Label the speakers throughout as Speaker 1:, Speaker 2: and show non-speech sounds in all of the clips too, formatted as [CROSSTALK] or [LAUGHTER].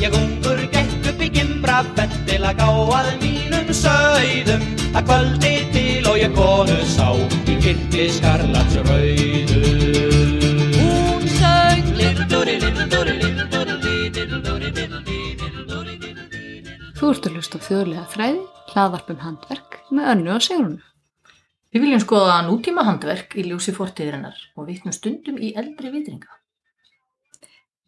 Speaker 1: Ég ungur gekk upp í gimbrafett til að gá að mínum sögðum að kvöldi til og ég konu sá í kirkli skarlats rauðu
Speaker 2: Hún söng
Speaker 1: Diddle-dúri, diddle-dúri, diddle-dúri, diddle-dúri, diddle-dí, diddle-dúri, diddle-dí.
Speaker 3: Þú ert að hlusta á þjóðlega þræði, hlaðvarpum handverk með önnu og segrunu.
Speaker 2: Við viljum skoða nútíma handverk í ljósi fortíðirinnar og vitnum stundum í eldri vitringa.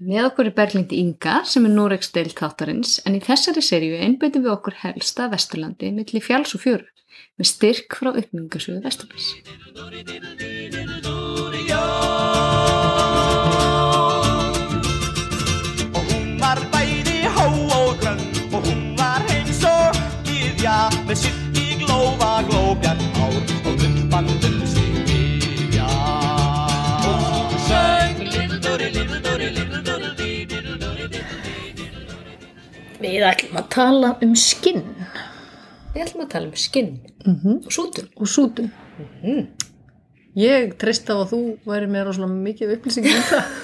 Speaker 3: Með okkur er Berglind Inga sem er Norex deil þáttarins en í þessari seríu einbyttum við okkur helsta Vesturlandi milli fjáls og fjöru með styrk frá uppmyngasöðu Vesturlands.
Speaker 1: Og hún var bæði hó og grönn og hún var eins og gyðja með sitt í glófa glóbjarn ár og umbandum sig gyðja. Og hún söng lill-dúri, lill-dúri, lill-dúri, lill-dúri,
Speaker 2: Við ætlum að tala um skinn
Speaker 4: Við ætlum að tala um skinn og sútun.
Speaker 5: Mhm. og sútum. Ég treyst á að þú væri með rosalega mikið upplýsingum um það.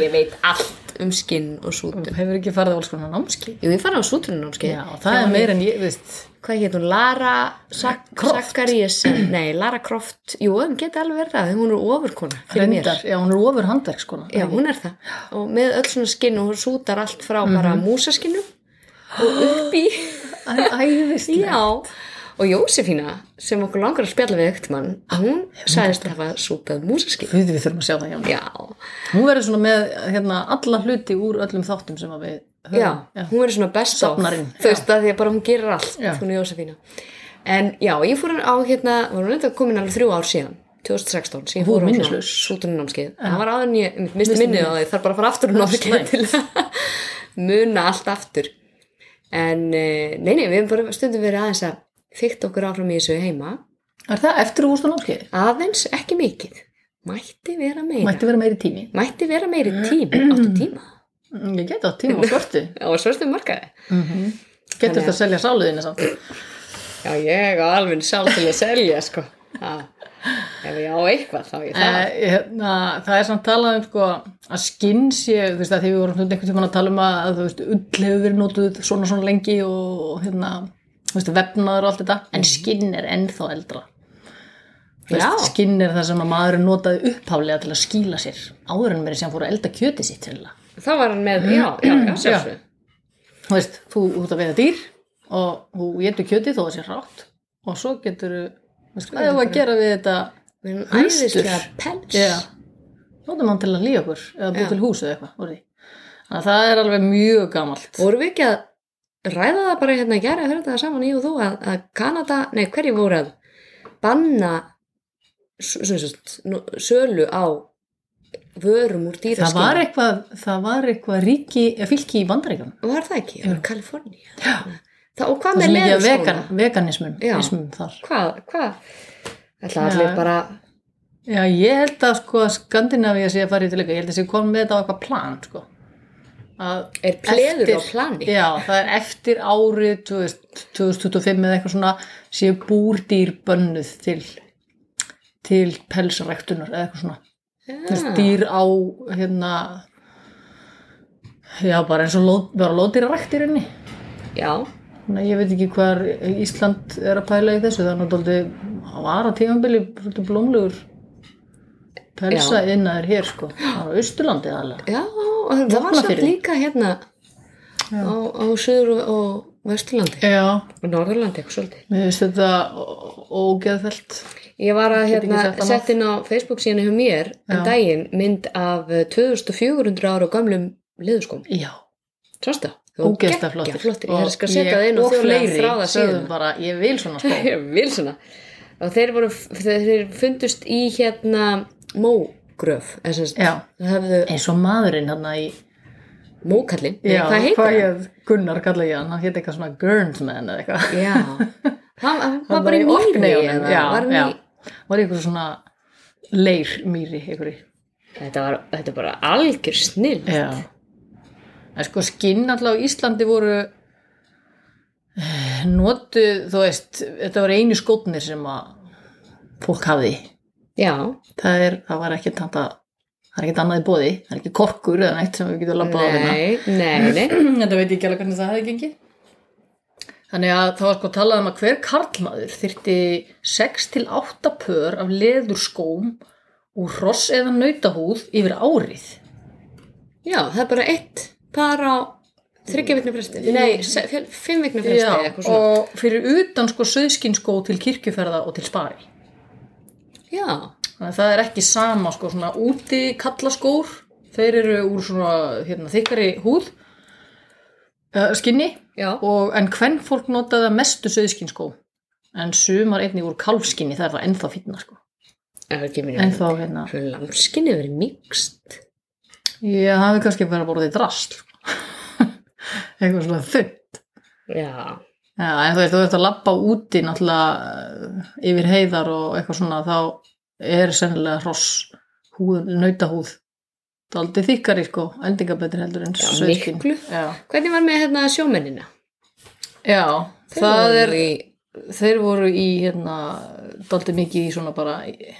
Speaker 4: Ég veit allt um skinn og sútun.
Speaker 5: Þú hefur ekki farið á alls konar námski.
Speaker 4: [LAUGHS] Jú, ég fara á sútunumnámskeið.
Speaker 5: Já, það er meira en ég, veist,
Speaker 4: Hvað hétt hún? Lara Sak
Speaker 5: Croft.
Speaker 4: Sakkaríesen? Nei, Lara Croft. Jú, hún geti alveg verið það. Hún er ofurkona fyrir mér.
Speaker 5: reyndar, já, hún er ofur sko. handverkskona.
Speaker 4: Já, hún er það. Og með öll svona skinn og hún sútar allt frá bara músaskinnum og upp í... [GASPS]
Speaker 5: Æðislega.
Speaker 4: Já. Og Jósefína, sem okkur langar að spjalla við ekkert mann, hún sagðist að hafa sútað músaskinn.
Speaker 5: Við, við þurfum að sjá það hjá mér.
Speaker 4: Já.
Speaker 5: Hún verður svona með hérna, alla hluti úr öllum þáttum sem að við höfum.
Speaker 4: já, hún verður svona best á
Speaker 5: Safnarinn,
Speaker 4: þú veist að því að bara hún gerir allt
Speaker 5: Já.
Speaker 4: hún Jósefína en já, ég fór hann á hérna var hún eitthvað komin alveg þrjú ár síðan 2016, sem ég
Speaker 5: Hún
Speaker 4: fór á
Speaker 5: er minnislaus.
Speaker 4: sútununámskeið það var aðan ég einmitt misti minnið á því þarf bara að fara aftur um námskeið til að [LAUGHS] muna allt aftur en eh, nei, nei, við hefum bara stundum verið aðeins að þykta okkur áfram í þessu heima
Speaker 5: Er það eftir úr svona námskeið?
Speaker 4: aðeins ekki mikið mætti vera meira
Speaker 5: Mætti vera meiri tími.
Speaker 4: mætti vera meiri tíma, áttu tíma
Speaker 5: Mm, Ég geti á tíma á svörtu.
Speaker 4: og svörstum markaði
Speaker 5: Getur þetta að selja sáluðinu samt.
Speaker 4: Já, ég á alveg sjálf til að selja, sko. Já, ef ég á eitthvað, þá ég það.
Speaker 5: Eh, hérna, það er samt talað um sko, að skinn sé, þú veist að því við vorum svona einhvern tímann að tala um að þú veist, ull hefur verið notuð svona svona lengi og og, hérna, þú veist, vefnaður og allt þetta en skinn er ennþá eldra Þú veist,
Speaker 4: Já.
Speaker 5: skinn er það sem að maður notaði upphálega til að skýla sér áður en verið sem fór að elda kjöti sitt sennilega.
Speaker 4: Þá var hann með, já, já, mm, já, sjálfsög.
Speaker 5: þú veist, þú þú ert að veiða dýr og þú getur kjötið þó það sé rátt og svo getur hvað er að gera við þetta
Speaker 4: Við erum
Speaker 5: Hústur.
Speaker 4: æðislega pels.
Speaker 5: Já, notum hann til að líða okkur eða búið til hús eða eitthvað úr því. Þannig að það er alveg mjög gamalt.
Speaker 4: Vorum við ekki að ræða það bara hérna í gæri að höra það saman ég og þú að, að Kanada, nei, hverju voru að banna s- sem sagt, nú- sölu á vörum úr dýraskinn?
Speaker 5: Það var eitthvað, það var eitthvað ríki, eða fylki í bandaríkjum.
Speaker 4: Var það ekki? Það var Kalifornía. Já. Það, og hvað
Speaker 5: Það
Speaker 4: með
Speaker 5: sem ekki að
Speaker 4: leðurskóna?
Speaker 5: vegan, veganismum,
Speaker 4: Já.
Speaker 5: ismum þar.
Speaker 4: Hvað, hvað? Ætla
Speaker 5: Já.
Speaker 4: allir bara,
Speaker 5: Já, ég held að sko að Skandinavíu sé að fara í til eitthvað. Ég held að sé kom með þetta á eitthvað plan, sko. Að
Speaker 4: er pleður
Speaker 5: eftir-
Speaker 4: á plani?
Speaker 5: Já, það er eftir árið 2000 2025 eða eitthvað svona séu búrdýr bönnuð til, til pelsræktunar eða eitthvað svona. Þú veist, dýr á hérna já, bara eins og lóð, bara lóðdýrarækt í rauninni
Speaker 4: Já,
Speaker 5: Þannig að ég veit ekki hvar Ísland er að pæla í þessu, þannig að það var á tímanbili svolítið blómlegur pelsa innaður hér sko, á Austurlandi aðalega.
Speaker 4: já, og það var samt
Speaker 5: Vopnafirði.
Speaker 4: líka hérna á, á Suður og, og Vesturlandi
Speaker 5: Já,
Speaker 4: og Norðurlandi eitthvað svolítið.
Speaker 5: mér finnst þetta ó- ógeðfellt.
Speaker 4: Ég var að
Speaker 5: Get ekki
Speaker 4: hérna,
Speaker 5: sagt annað.
Speaker 4: sett inn á Facebook síðan hjá mér um
Speaker 5: Já.
Speaker 4: daginn mynd af eh, 2400 ára gamlum leðurskóm.
Speaker 5: Já,
Speaker 4: Sástu það? Það var
Speaker 5: ógeðslega
Speaker 4: geggjað flottir.
Speaker 5: flottir.
Speaker 4: Ég er að setja það inn
Speaker 5: og
Speaker 4: og þjóðlega
Speaker 5: fleiri
Speaker 4: þráða
Speaker 5: sögðu
Speaker 4: síðan.
Speaker 5: bara, ég vil svona
Speaker 4: [LAUGHS]
Speaker 5: skó.
Speaker 4: Ég vil svona. Og þeir, voru, þeir fundust í hérna mógröf. eða sem sagt,
Speaker 5: Já,
Speaker 4: Það hefðu
Speaker 5: eins og maðurinn hann í
Speaker 4: mókallin.
Speaker 5: Já,
Speaker 4: Hvað heitir það?
Speaker 5: ég, Gunnar kalla ég hann, hann hétt eitthvað svona Gurnsman eða eitthvað.
Speaker 4: Já, [LAUGHS] hann, hann var bara í mýri
Speaker 5: Orkneyjunum,
Speaker 4: eða
Speaker 5: já,
Speaker 4: var hann
Speaker 5: já.
Speaker 4: í...
Speaker 5: Var í eitthvað svona leir mýri, einhverju.
Speaker 4: Þetta var þetta er bara algjör snill.
Speaker 5: Já. En sko skinn alltaf á Íslandi voru eh, notuð, þú veist, þetta var einu skótnir sem að fólk hafði.
Speaker 4: já,
Speaker 5: það er, það var ekkert þetta það er ekkert annað í bóði, það er ekki korkur eða neitt sem við getum labbað á hérna
Speaker 4: nei, nei, nei.
Speaker 5: þetta veit ég ekki alveg hvernig það hefði gengið þannig að það var sko talað um að hver karlmaður þyrti 6-8 pör af leðurskóm úr hross eða nautahúð yfir árið
Speaker 4: [CLEARS THROAT] Já, það er bara eitt par á þryggja vikna fresti, nei, se- fjö- fimm vikna fresti eða eitthvað svona.
Speaker 5: og fyrir utan sko söðskinskó til kirkjuferða og til spari
Speaker 4: Já,
Speaker 5: þannig að það er ekki sama sko svona úti kallaskór þeir eru úr svona hérna, þykkari húð uh, skinni
Speaker 4: já,
Speaker 5: og en hvern fólk notaði að mestu söðskinskó en sumar einnig úr kálfskinni það er það ennþá fínna sko
Speaker 4: það er ekki mínu.
Speaker 5: ennþá hérna
Speaker 4: Lamskinni verið mikst.
Speaker 5: já það er kannski verið að borða því drast sko. [LAUGHS] eitthvað svona þunn
Speaker 4: Já,
Speaker 5: já, en þú veist þú ert að lappa úti náttúrulega eh, yfir heiðar og eitthvað svona þá er sennilega hross húð, nautahúð það er aldrei þykkari sko endingabetri heldur en
Speaker 4: Já,
Speaker 5: sauðskinn.
Speaker 4: miklu.
Speaker 5: já,
Speaker 4: hvernig var með hérna sjómennina?
Speaker 5: já
Speaker 4: Þeir
Speaker 5: það
Speaker 4: voru
Speaker 5: er þeir voru í hérna daldi mikið í svona bara í-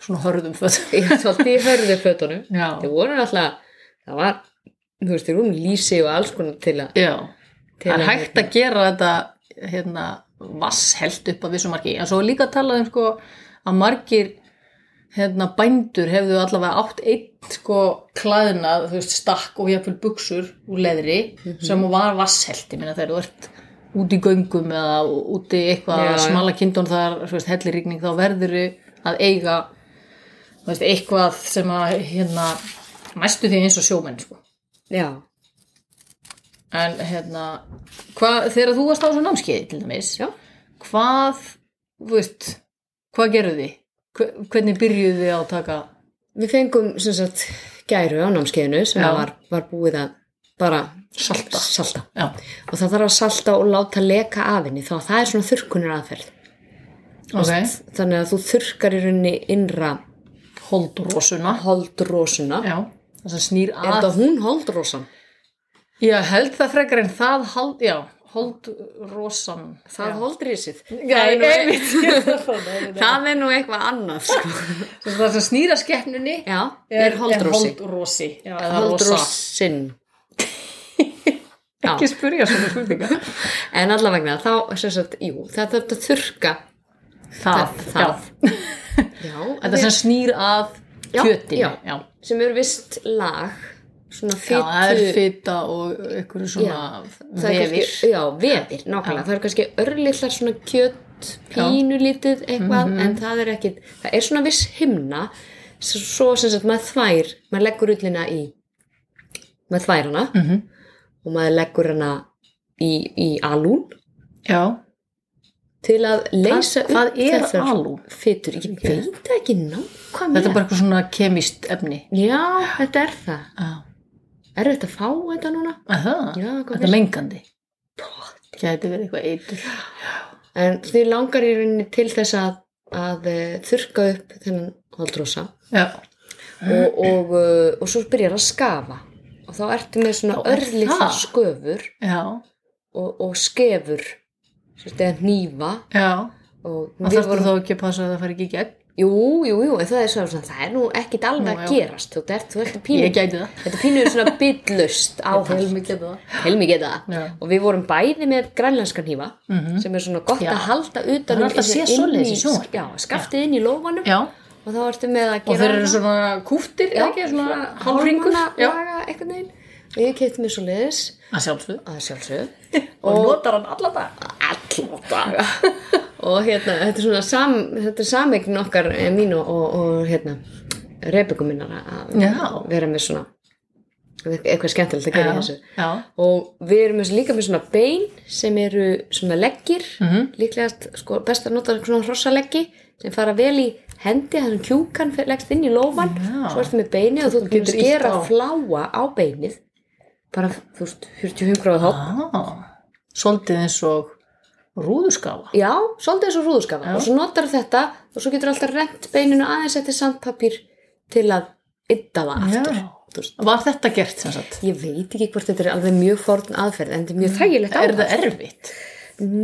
Speaker 5: svona hörðum fötum
Speaker 4: Ég svolítið í [LAUGHS] hörðu fötunum.
Speaker 5: já,
Speaker 4: Þeir voru alltaf, það var, þú veist, þeir voru með lýsi og alls konar til að... hérna-
Speaker 5: já.
Speaker 4: til
Speaker 5: það er hægt að gera þetta hérna vasshelt upp að vissu marki en svo er líka að tala um sko að margir hérna bændur hefðu allavega átt einn sko klæðnað, þú veist, stakk og jafnvel buksur úr leðri
Speaker 4: Mhm.
Speaker 5: sem var vasshelt, ég meina þegar þú ert úti í göngum eða úti í eitthvað
Speaker 4: Já, já.
Speaker 5: smala kindun þar, þú veist, hellirigning þá verður að eiga þú veist, eitthvað sem að hérna, mæstu því eins og sjómenn sko.
Speaker 4: Já,
Speaker 5: En hérna, hva, þegar þú varst á þessu námskeiði til dæmis,
Speaker 4: Já.
Speaker 5: hvað, þú veist, hvað gerðu þið? Hve- Hvernig byrjuðu þið á að taka?
Speaker 4: við fengum, sem sagt, gæru á námskeiðinu sem
Speaker 5: Já.
Speaker 4: var, var búið að bara...
Speaker 5: Salta.
Speaker 4: Salta.
Speaker 5: Já,
Speaker 4: Og það þarf að salta og láta leka af henni, þá það er svona þurrkunar aðferð.
Speaker 5: ok.
Speaker 4: þannig að þú þurrkar í rauninni innra
Speaker 5: Holdrósuna.
Speaker 4: holdrósuna
Speaker 5: Já, það sem snýr
Speaker 4: er
Speaker 5: að.
Speaker 4: þetta hún holdrósan?
Speaker 5: Já, held það frekar en það hold, já, holdrósan.
Speaker 4: það
Speaker 5: já.
Speaker 4: holdrísið
Speaker 5: Það er nú
Speaker 4: það [LAUGHS]
Speaker 5: einmitt.
Speaker 4: er nú eitthvað annað
Speaker 5: [LAUGHS]
Speaker 4: sko.
Speaker 5: Það sem snýr að skeppnunni
Speaker 4: já, er holdrósi
Speaker 5: Er holdrósi. Já, eða rosa.
Speaker 4: holdrósin
Speaker 5: [LAUGHS]
Speaker 4: Já.
Speaker 5: Ekki spyrja svona spurninga.
Speaker 4: en allavegna þá sem sagt, jú, það þarf að þurrka
Speaker 5: Það,
Speaker 4: [LAUGHS] það.
Speaker 5: já.
Speaker 4: já,
Speaker 5: Þetta sem snýr að
Speaker 4: Já,
Speaker 5: kjötinu.
Speaker 4: já.
Speaker 5: já.
Speaker 4: sem er vist lag svona
Speaker 5: Já, það er
Speaker 4: fytu
Speaker 5: fita og einhverju svona
Speaker 4: það er
Speaker 5: vefir.
Speaker 4: kannski, já, vefir, nákvæmlega
Speaker 5: Já.
Speaker 4: það er kannski örlittlar svona kjött pínulítið eitthvað
Speaker 5: Mhm.
Speaker 4: en það er ekkit, það er svona viss himna s- svo sem sagt maður þvær maður leggur ullina í maður þvær hana
Speaker 5: Mhm.
Speaker 4: og maður leggur hana í, í alún
Speaker 5: Já,
Speaker 4: til að leysa
Speaker 5: Hvað- hvað er alún?
Speaker 4: fytur, ég veit það ekki nákvæmlega
Speaker 5: þetta er bara eitthvað svona kemist efni.
Speaker 4: já, þetta er það
Speaker 5: Já,
Speaker 4: er þetta að fá þetta núna?
Speaker 5: það,
Speaker 4: Já, hvað
Speaker 5: þetta
Speaker 4: finnst-
Speaker 5: er mengandi. Gæti verið eitthvað eitur.
Speaker 4: En þið langar í rauninni til þess að, að eh, þurrka upp þennan holdrosa
Speaker 5: Já,
Speaker 4: og, og, eh, og svo byrjar að skafa og þá ertu með svona
Speaker 5: Já, er
Speaker 4: örlitlar
Speaker 5: það?
Speaker 4: sköfur
Speaker 5: já,
Speaker 4: og, og skefur sérst eða hnífa
Speaker 5: já.
Speaker 4: og
Speaker 5: Og
Speaker 4: við
Speaker 5: þarftu
Speaker 4: vorum,
Speaker 5: þá ekki að passa að það fari ekki í gegn?
Speaker 4: jú, jú, jú, en það er svo svona, það er nú ekkit alveg
Speaker 5: Nú,
Speaker 4: að
Speaker 5: já.
Speaker 4: gerast þú ert, þú ert pínu,
Speaker 5: gæti það.
Speaker 4: þetta pínuður svona byllust á hann,
Speaker 5: Ég tel mig geta það.
Speaker 4: helmi geta það
Speaker 5: Já.
Speaker 4: og við vorum bæði með grænlenskan hnífa
Speaker 5: Mhm.
Speaker 4: sem er svona gott
Speaker 5: Já.
Speaker 4: að halda
Speaker 5: Það
Speaker 4: utan um
Speaker 5: er alltaf
Speaker 4: þessi
Speaker 5: séð svoleiðis
Speaker 4: inn
Speaker 5: í sjónvarpi.
Speaker 4: já, skaftið inn í lófanum
Speaker 5: Já,
Speaker 4: og þá ertu með að
Speaker 5: og
Speaker 4: gera
Speaker 5: þeir eru svona kúftir,
Speaker 4: Já,
Speaker 5: eða ekki, svona hálfringur.
Speaker 4: hálfringur
Speaker 5: Já,
Speaker 4: laga eitthvað neginn og ég kefti mér svo leiðis
Speaker 5: að sjálfsögðu.
Speaker 4: að sjálfsög
Speaker 5: Og notar hann alla dag.
Speaker 4: allan daga og hérna, þetta er svona sam, þetta er sameign okkar eh, mín og, og, og hérna Rebeka minnar að
Speaker 5: Já.
Speaker 4: vera með svona eitthvað skemmtilegt að gera í
Speaker 5: Já,
Speaker 4: þessu
Speaker 5: já.
Speaker 4: og við erum með- líka með svona bein sem eru svona leggir
Speaker 5: Mhm.
Speaker 4: líklegast, sko, best að nota svona hrossaleggi sem fara vel í hendi þannig að kjúkan fer- leggst inn í lófan
Speaker 5: Já.
Speaker 4: svo ertu með beinið og þú ert búin að
Speaker 5: getur ýtt
Speaker 4: skera
Speaker 5: á.
Speaker 4: fláa á beinið bara, þú veist, 45 gráð hótt
Speaker 5: Ah, svolítið eins og rúðuskafa.
Speaker 4: já, svolítið eins og rúðuskafa
Speaker 5: Já.
Speaker 4: og svo notar þetta og svo getur alltaf rent beininu aðeins eftir sandpapír til að ytta það aftur
Speaker 5: Já.
Speaker 4: Þú veist,
Speaker 5: Var þetta gert sem sagt?
Speaker 4: ég veit ekki hvort þetta er alveg mjög forn aðferð en þetta er mjög þægilegt
Speaker 5: Mm. Er
Speaker 4: áhald
Speaker 5: það erfitt?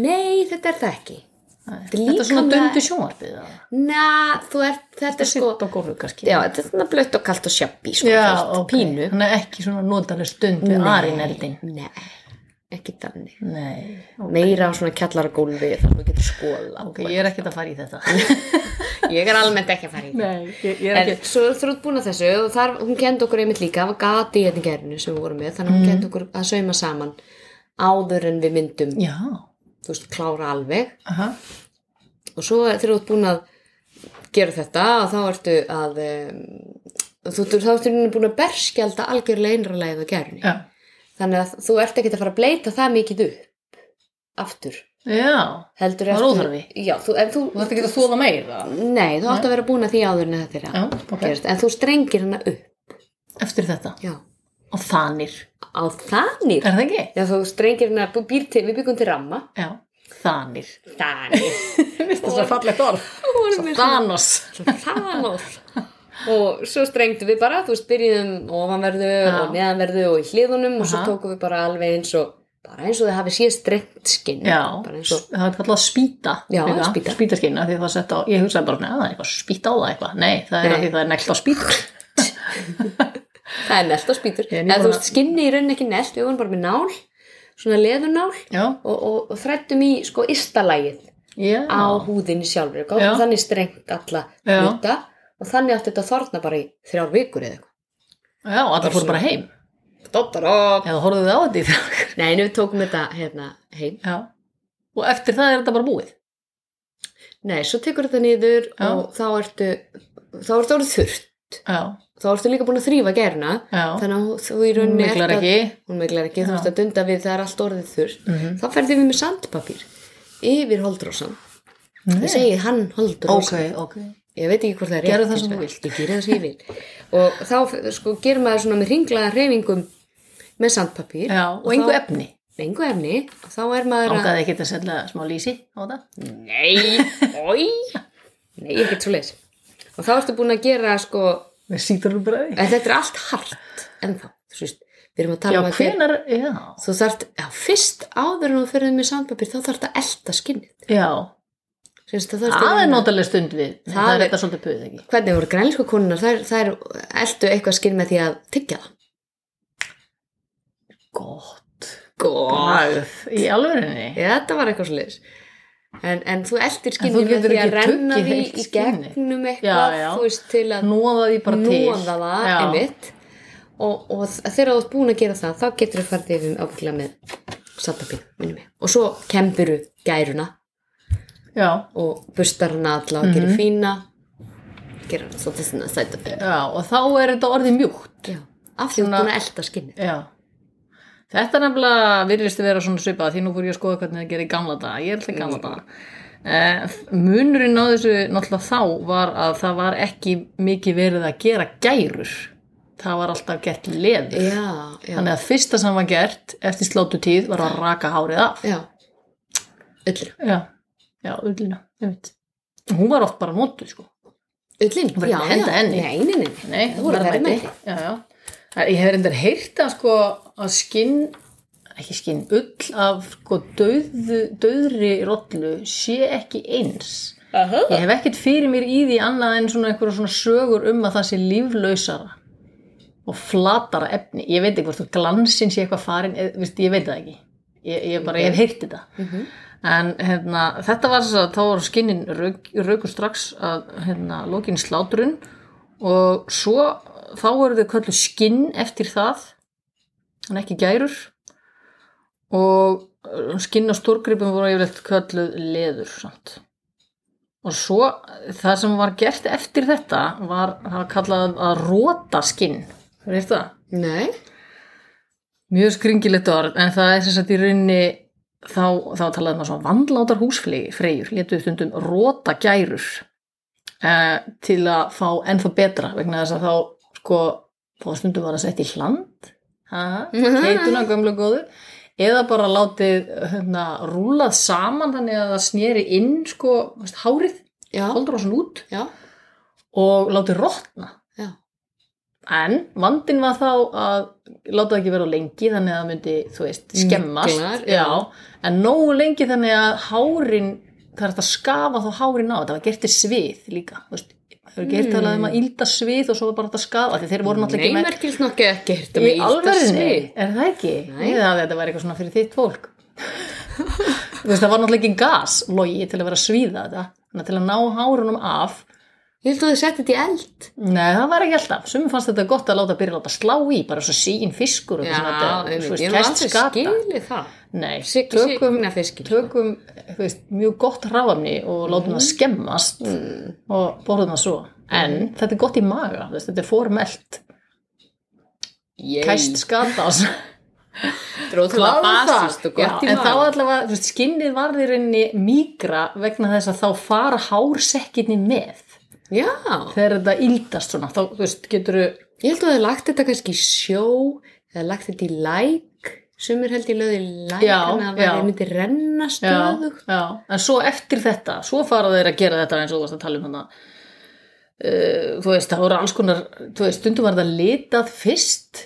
Speaker 4: Nei, þetta er það ekki. er
Speaker 5: Þetta er svona
Speaker 4: líkamlega-
Speaker 5: döndu sjónvarpið eða?
Speaker 4: Næ, þú ert, þetta er sko
Speaker 5: Sitt á gólu kannski
Speaker 4: Já, þetta er svona blött og kalt og sjabbi sko,
Speaker 5: Já,
Speaker 4: þú veist,
Speaker 5: ok. Mm.
Speaker 4: pínu
Speaker 5: Þannig að ekki svona notaleg stund við
Speaker 4: Nei,
Speaker 5: arineldin
Speaker 4: Nei, ekki þannig
Speaker 5: Nei,
Speaker 4: Meira á svona kjallaragólfi þar þú getur skola
Speaker 5: ok, ég er ekkert að fara í þetta
Speaker 4: Ég er almennt ekki að fara í það
Speaker 5: [LAUGHS] Nei, ég, ég
Speaker 4: En svo þú ert búin að þessu og þar, hún kendi okkur einmitt líka, það var gati hérna í þetta gerinu sem við vorum með, þannig að
Speaker 5: Mhm.
Speaker 4: hún kendi okkur að sauma saman áður en við myndum,
Speaker 5: Já,
Speaker 4: þú veist, klára alveg
Speaker 5: aha,
Speaker 4: og svo þegar þú ert búin að gera þetta og þá ertu að um, þú þú- þá ertu í rauninni búin að berskjálta algjörlega einralega við gerni
Speaker 5: já
Speaker 4: þannig að þú ert ekkert að fara að bleita það mikið upp aftur
Speaker 5: Já,
Speaker 4: heldur
Speaker 5: Það er
Speaker 4: ertu-
Speaker 5: óþarfi.
Speaker 4: já, þú, en þú,
Speaker 5: þú þarf ekki að þóða meira
Speaker 4: nei, þú átt að vera búin að því áður en þetta er
Speaker 5: Já,
Speaker 4: að
Speaker 5: ok,
Speaker 4: gerast en þú strengir hana upp
Speaker 5: eftir þetta
Speaker 4: já.
Speaker 5: Og þanir,
Speaker 4: á þannig
Speaker 5: er það ekki?
Speaker 4: já, þú strengir hana, þú býr til, við byggum til ramma
Speaker 5: Já, þanir
Speaker 4: þannig
Speaker 5: [LAUGHS] Þetta er svo fallegt orð Svo Thanos
Speaker 4: Thanos og svo strengtum við bara, þú veist, byrjuðum ofanverðu og neðanverðu og í hliðunum og svo
Speaker 5: Aha.
Speaker 4: tókum við bara alveg eins og bara eins og þið hafi séð strengt skinn
Speaker 5: Já,
Speaker 4: bara eins og
Speaker 5: það er kallað spýta
Speaker 4: Já,
Speaker 5: líka.
Speaker 4: spýta.
Speaker 5: Spýtaskinn, af því að það sett á Ég hugsaði bara, neða, það er eitthvað spýta á það eitthvað Nei, það er
Speaker 4: Nei.
Speaker 5: að því það er neglt á
Speaker 4: [LAUGHS]
Speaker 5: spýta
Speaker 4: það er nelt á spýtur
Speaker 5: Ég er
Speaker 4: en þú
Speaker 5: nýbúin
Speaker 4: veist, skinni í rauninni ekki nelt, við vorum bara með nál svona leðunál
Speaker 5: Já,
Speaker 4: og, og, og þrættum í sko ystalægið
Speaker 5: já
Speaker 4: á húðinni sjálfur og
Speaker 5: Já.
Speaker 4: gáðum þannig strengt alla
Speaker 5: Já.
Speaker 4: hluta og þannig átti þetta að þorna bara í þrjár vikur eða
Speaker 5: Já, og allar fóru bara heim
Speaker 4: eitthvað
Speaker 5: Eða horfðu þið á þetta í þrjókar
Speaker 4: Nei, en við tókum þetta hérna heim
Speaker 5: [LAUGHS] Já. Og eftir það er þetta bara búið.
Speaker 4: Nei, svo tekur þetta niður
Speaker 5: Já.
Speaker 4: og þá ertu, þá ertu orðið þurrt.
Speaker 5: Já,
Speaker 4: Þá ertu líka búin að þrýfa gerna.
Speaker 5: já.
Speaker 4: Þannig að þú í
Speaker 5: Hún
Speaker 4: rauninni
Speaker 5: miklar
Speaker 4: ert að-
Speaker 5: ekki.
Speaker 4: Hún meglar ekki,
Speaker 5: Já.
Speaker 4: þú veist að dunda við það er allt orðið þurrt.
Speaker 5: Mm -hmm.
Speaker 4: Þá ferðum við með sandpapír yfir holdrósan. Ég segi hann holdrósan.
Speaker 5: ok.
Speaker 4: Ég veit ekki hvort það er
Speaker 5: Gerðu það
Speaker 4: hins
Speaker 5: sem þú
Speaker 4: vegar.
Speaker 5: vilt.
Speaker 4: Ég gerði það sem ég vil. [LAUGHS] Og þá sko gerir maður svona með ringlaða reyfingum með sandpapír.
Speaker 5: Já, og engu
Speaker 4: þá-
Speaker 5: efni.
Speaker 4: Engu efni. Og þá er maður að...
Speaker 5: Ágaði ekki að selja smá lísi á það?
Speaker 4: Nei, oi Nei, ekkert svo leis Og þá ertu búin að gera sko
Speaker 5: Með sítrunubræði.
Speaker 4: en þetta er allt hart ennþá, þú veist, við erum að tala
Speaker 5: Já,
Speaker 4: um að gera-
Speaker 5: hvenar, já.
Speaker 4: þú þarft, já, fyrst áður en þú ferðið með sandpapir, þá þarft að elta skinnið
Speaker 5: Já,
Speaker 4: Sérst, það þarft
Speaker 5: það er notalega stund við. Það,
Speaker 4: Það
Speaker 5: er
Speaker 4: er-
Speaker 5: þetta svolítið puð, ekki?
Speaker 4: Hvernig voru grænlísku konunnar, þær, þær eltu eitthvað skinn með því að tyggja það
Speaker 5: Gott.
Speaker 4: Góð
Speaker 5: Bragð. Í alvörinni.
Speaker 4: Já, þetta var eitthvað svo leis En, en þú eltir
Speaker 5: þú
Speaker 4: skinnið með
Speaker 5: getur
Speaker 4: því að
Speaker 5: ekki
Speaker 4: renna
Speaker 5: tuggið
Speaker 4: því
Speaker 5: heilt
Speaker 4: í
Speaker 5: skinnið.
Speaker 4: gegnum
Speaker 5: Já,
Speaker 4: eitthvað,
Speaker 5: já.
Speaker 4: þú veist, til að
Speaker 5: Nóða því bara til.
Speaker 4: nóða um það
Speaker 5: Já.
Speaker 4: einmitt og, og þ- þegar þú ert búin að gera það þá getur þú farið yfir ábyggla með sattapín, minnum ég, og svo kemburu gæruna
Speaker 5: Já,
Speaker 4: og bustar hana alla og
Speaker 5: Mhm.
Speaker 4: gerir fína gerir hana svolítið svona sætapín
Speaker 5: já, og þá er þetta orðið mjúkt.
Speaker 4: já, af því þú ert búin að elda skinnið
Speaker 5: Já. Þetta nefnilega virðist að vera svona svipað því nú fór ég að skoða hvernig það gerir í gamla daga. Ég er alltaf í gamla daga. Eh, munurinn á þessu náttúrulega þá var að það var ekki mikið verið að gera gærur. Það var alltaf gert í leður.
Speaker 4: já, já,
Speaker 5: Þannig að fyrsta sem var gert eftir slótu tíð var að raka hárið af.
Speaker 4: já Ullin,
Speaker 5: Já, já, ullina, ég veit. Hún var oft bara nóttu, sko.
Speaker 4: ullin,
Speaker 5: Þú verður
Speaker 4: já,
Speaker 5: ekki að
Speaker 4: já,
Speaker 5: henda henni.
Speaker 4: nei, nei, nei,
Speaker 5: Nei,
Speaker 4: þú voru verið með
Speaker 5: Já, já. Það- Ég hef reyndar heyrt að sko að skinn, ekki skinn, ull af sko döðu, döðri rollu sé ekki eins.
Speaker 4: þetta
Speaker 5: Ég hef ekkert fyrir mér í því annað en svona einhverja svona sögur um að það sé líflausara og flatara efni. Ég veit ekki hvort þú glansinn sé eitthvað farin, eð, veist, ég veit það ekki. Ég, ég bara, ég hef heyrt þetta. En hérna, þetta var þess að þá voru skinnin rauk, rauku strax að hérna, lokin slátrun og svo þá voru þau köllu skinn eftir það, en ekki gærur og uh, skinn á stórgripum voru yfirleitt kölluð leður samt. Og svo það sem var gert eftir þetta var það var kallað að róta skinn. Hefur þið heyrt það?
Speaker 4: Nei,
Speaker 5: Mjög skringilegt orð, en það er sem sagt í rauninni þá, þá talaði maður svona vandlátar húsfreyjur, letuðu stundum róta gærur eh, til að fá ennþá betra vegna þess að þá sko þá stundum var að setja í hland keituna gömlu góðu eða bara látið hérna, rúlað saman þannig að það sneri inn sko þú veist, hárið,
Speaker 4: já,
Speaker 5: holdur á svona út
Speaker 4: já,
Speaker 5: og látið rótna
Speaker 4: já
Speaker 5: En vandin var þá að láta það ekki vera of lengi þannig að það myndi, þú veist, skemmast.
Speaker 4: Miklar, já.
Speaker 5: já. En nógu lengi þannig að hárin það er hægt að skafa þá hárin á, þetta var gert í svið líka, þú veist, það er gert talað um að ylda svið og svo er bara hægt að skafa, af því þeir voru náttúrulega ekki
Speaker 4: Hmm. Nei,
Speaker 5: með
Speaker 4: merkilt nokkuð ekki hirt
Speaker 5: í alverðinni, er það ekki?
Speaker 4: Nei.
Speaker 5: Ég það þetta var eitthvað svona fyrir þitt
Speaker 4: [LAUGHS]
Speaker 5: fólk þú veist, það var náttúrulega ekki gas logi til að vera að svíða þetta þannig að til að ná hárunum af
Speaker 4: Ég held að þið setti þetta í eld.
Speaker 5: Nei, það var ekki alltaf. Sumi fannst þetta gott að láta byrja að láta slá í, bara svo sín fiskur og
Speaker 4: Já,
Speaker 5: eitthvað þetta,
Speaker 4: einmitt.
Speaker 5: þú veist,
Speaker 4: ég hef
Speaker 5: kæst
Speaker 4: aldrei
Speaker 5: skata.
Speaker 4: skilið það.
Speaker 5: Nei,
Speaker 4: Siggi
Speaker 5: tökum,
Speaker 4: signa fiskir.
Speaker 5: tökum þú veist, mjög gott ráfamni og látum
Speaker 4: Mm.
Speaker 5: það skemmast og borðum það svo. En
Speaker 4: Mm.
Speaker 5: þetta er gott í maga, þú veist, þetta er formelt.
Speaker 4: Ég
Speaker 5: Kæst skata og svo.
Speaker 4: [LAUGHS] dróð það basist og gott
Speaker 5: Já,
Speaker 4: í
Speaker 5: en þá
Speaker 4: maður.
Speaker 5: allavega, þú veist, skinnið varð í rauninni mýgra vegna þess að þá fara hársekkinni með.
Speaker 4: Já,
Speaker 5: Þegar þetta íldast svona, þá, þú veist, getur
Speaker 4: ég held að þið lagt þetta kannski í sjó, eða lagt þetta í læk, sumir held ég lögði í læk,
Speaker 5: Já,
Speaker 4: þannig að það
Speaker 5: já.
Speaker 4: myndi renna
Speaker 5: já,
Speaker 4: stöðugt.
Speaker 5: já, en svo eftir þetta svo fara þeir að gera þetta eins og þú varst að tala um hana uh, þú veist, það voru alls konar þú veist, stundum var það litað fyrst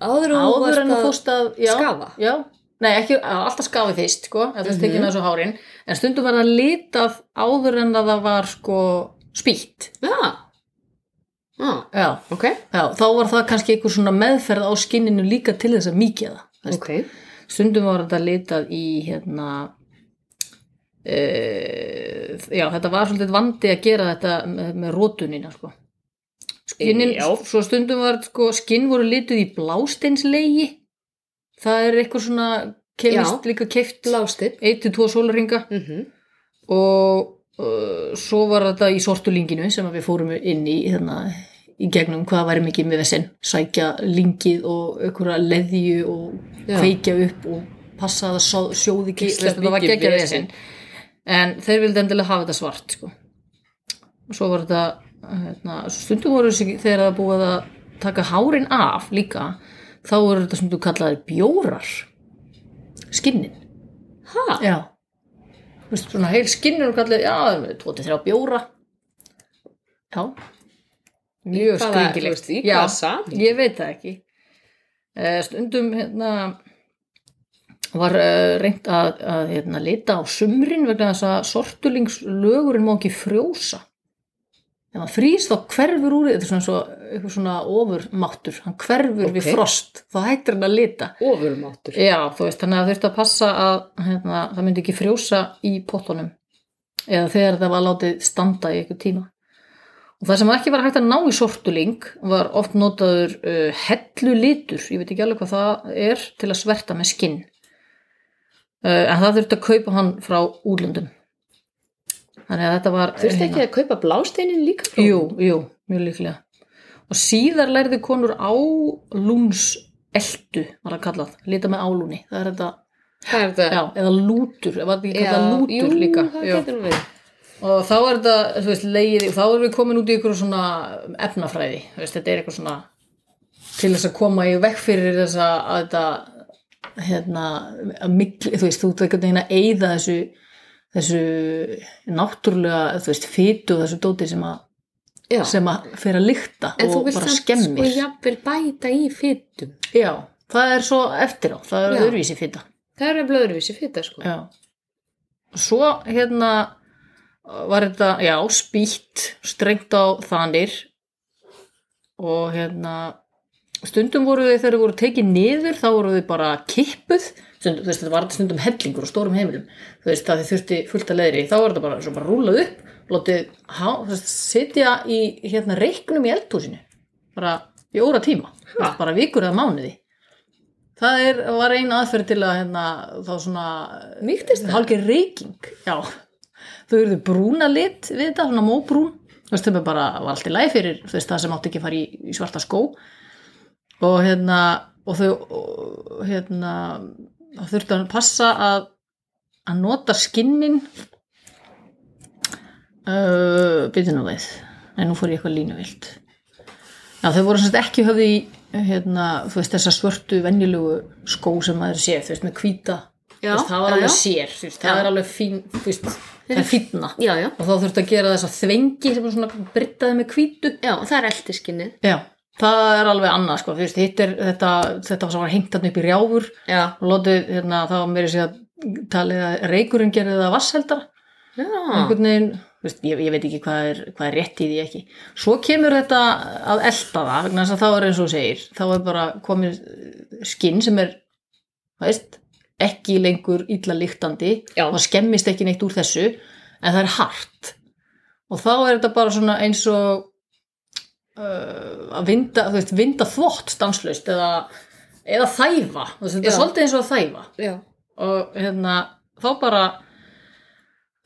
Speaker 4: Áður, en þú
Speaker 5: áður
Speaker 4: varst
Speaker 5: en þú
Speaker 4: að-
Speaker 5: fórst að já,
Speaker 4: skafa? Mhm.
Speaker 5: já, nei, ekki, alltaf skafi fyrst sko, ef þú stekir með þessu hárin en stundum var það litað áður en að það var sko spýtt
Speaker 4: Já. Já,
Speaker 5: já,
Speaker 4: ok.
Speaker 5: já, þá var það kannski einhver svona meðferð á skinninu líka til þess að mýkja það þú veist.
Speaker 4: Ok.
Speaker 5: stundum var þetta litað í hérna uh, já, þetta var svolítið vandi að gera þetta með, með rótunina sko. Skinin,
Speaker 4: Já.
Speaker 5: svo stundum var sko, skinn voru lituð í blásteinslegi það er eitthvað svona kemist líka keift
Speaker 4: Blástinn.
Speaker 5: 1-2 sólaringa
Speaker 4: Mm
Speaker 5: og uh, svo var þetta í sortulinginu sem að við fórum inn í hérna, í gegnum hvað væri mikið með vesinn sækja lingið og einhverja leðju og
Speaker 4: Já.
Speaker 5: kveikja upp og passa að það só- sjóði ekki
Speaker 4: Gísla
Speaker 5: það var
Speaker 4: mikið
Speaker 5: geggjað
Speaker 4: vesen.
Speaker 5: vesinn en þeir vildi endilega hafa þetta svart sko. og svo var þetta hérna, stundum voru þessi þegar það búið að taka hárin af líka þá voru þetta sem þú kallaðir bjórar skinnin
Speaker 4: Ha?
Speaker 5: Já. Þú veist, svona heil skinnur og kallið, já, 23 bjóra. Já. Mjög
Speaker 4: Hvaða, þú
Speaker 5: skringilegt.
Speaker 4: veist, í
Speaker 5: Já,
Speaker 4: hvaða samhengi?
Speaker 5: Ég veit það ekki. Eh, Stundum, hérna, var eh, reynt að, að hérna, lita á sumrin vegna þess að sortulingslögurinn má ekki frjósa. Ef hann frýs þá hverfur úr, þetta er svona, svo, eitthvað svona ofurmáttur, hann hverfur við
Speaker 4: Ok.
Speaker 5: frost, þá hættir hann að lita.
Speaker 4: Ofurmáttur.
Speaker 5: Já, þú veist, þannig að þurfti að passa að hérna, það myndi ekki frjósa í pottunum eða þegar það var látið standa í einhver tíma. Og það sem ekki var hægt að ná í sortuling var oft notaður uh, hellulitur, ég veit ekki alveg hvað það er, til að sverta með skinn. Uh, en það þurfti að kaupa hann frá úrlöndum. Þannig að þetta var... hérna,
Speaker 4: Þurfti ekki að kaupa blásteinin líka? frá-
Speaker 5: Jú, jú, mjög líklega. Og síðar lærði konur álúnseldu, var það kallað, lita með álúni. Það er þetta,
Speaker 4: Hvað er þetta?
Speaker 5: já, eða lútur, var þetta ekki kallað lútur
Speaker 4: jú,
Speaker 5: líka.
Speaker 4: það
Speaker 5: Já.
Speaker 4: getur nú verið.
Speaker 5: Og þá er þetta, þú veist, leiði, þá erum við komin út í ykkur svona efnafræði, þú veist, þetta er eitthvað svona til þess að koma í vekk fyrir þess að að þetta hérna, að mikli, þú veist, þú ert einhvern veginn að eyða þessu þessu náttúrulega, þú veist, fytu og þessu dóti sem að
Speaker 4: Já.
Speaker 5: sem að fer að lykta
Speaker 4: En þú
Speaker 5: og
Speaker 4: vilt
Speaker 5: bara
Speaker 4: samt
Speaker 5: skemmir.
Speaker 4: sko jafnvel bæta í fytum.
Speaker 5: Já, það er svo eftir á, það er
Speaker 4: Já.
Speaker 5: öðruvísi fita.
Speaker 4: Það eru blöðurvísi fyta sko.
Speaker 5: Já. Svo hérna var þetta, já, spýtt, strengt á þanir og hérna stundum voru þau þegar þau voru tekið niður þá voru þau bara kippuð stundum, þú veist þetta var stundum hellingur og stórum heimilum þú veist það þau þurfti fullt að leðri þá var þetta bara, svo bara rúlað upp látið, há, þú veist, sitja í hérna reiknum í eldhúsinu bara í óra tíma Þú veist, bara vikur eða mánuði það er, var ein aðferð til að hérna, þá svona
Speaker 4: Mýktist það?
Speaker 5: hálfgeir reyking, já þau eru brúna lit við þetta, svona móbrún þú veist þau bara var allt í læg fyrir þú veist það sem átti ekki að fara í, í svarta skó og hérna og þau og, hérna þá þurftu að passa að að nota skinnin uh, byrju nú við en nú fór ég eitthvað línuvilt já þau voru sem sagt ekki höfði í hérna, þú veist þessa svörtu venjulegu skó sem maður sé, þú veist með hvíta
Speaker 4: Já,
Speaker 5: þú veist, það var
Speaker 4: já,
Speaker 5: alveg
Speaker 4: já.
Speaker 5: sér, þú veist, það
Speaker 4: Já.
Speaker 5: er alveg fín þú veist, það er fínna
Speaker 4: Já, já.
Speaker 5: og þá þurftu að gera þessa þvengi sem er svona brittaði með hvítu
Speaker 4: Já, það er eldiskinnið.
Speaker 5: já, það er alveg annað sko, þú veist, hitt er þetta, þetta var hengt hann upp í rjáfur
Speaker 4: Já.
Speaker 5: og lotið, hérna, það var meiri sér að talið að reykurinn gerði það vassheldar
Speaker 4: Já,
Speaker 5: einhvern veginn, þú veist, ég, ég veit ekki hvað er, hvað er rétt í því ekki svo kemur þetta að elta það vegna þess að þá er eins og þú segir þá er bara komið skinn sem er þú veist, ekki lengur illa líktandi
Speaker 4: Já.
Speaker 5: og það skemmist ekki neitt úr þessu en það er hart og þá er þetta bara svona eins og uh, að vinda, þú veist, vinda þvott stanslaust eða, eða þæfa, þú veist, þetta
Speaker 4: Já.
Speaker 5: er svolítið eins og að þæfa
Speaker 4: já,
Speaker 5: og hérna þá bara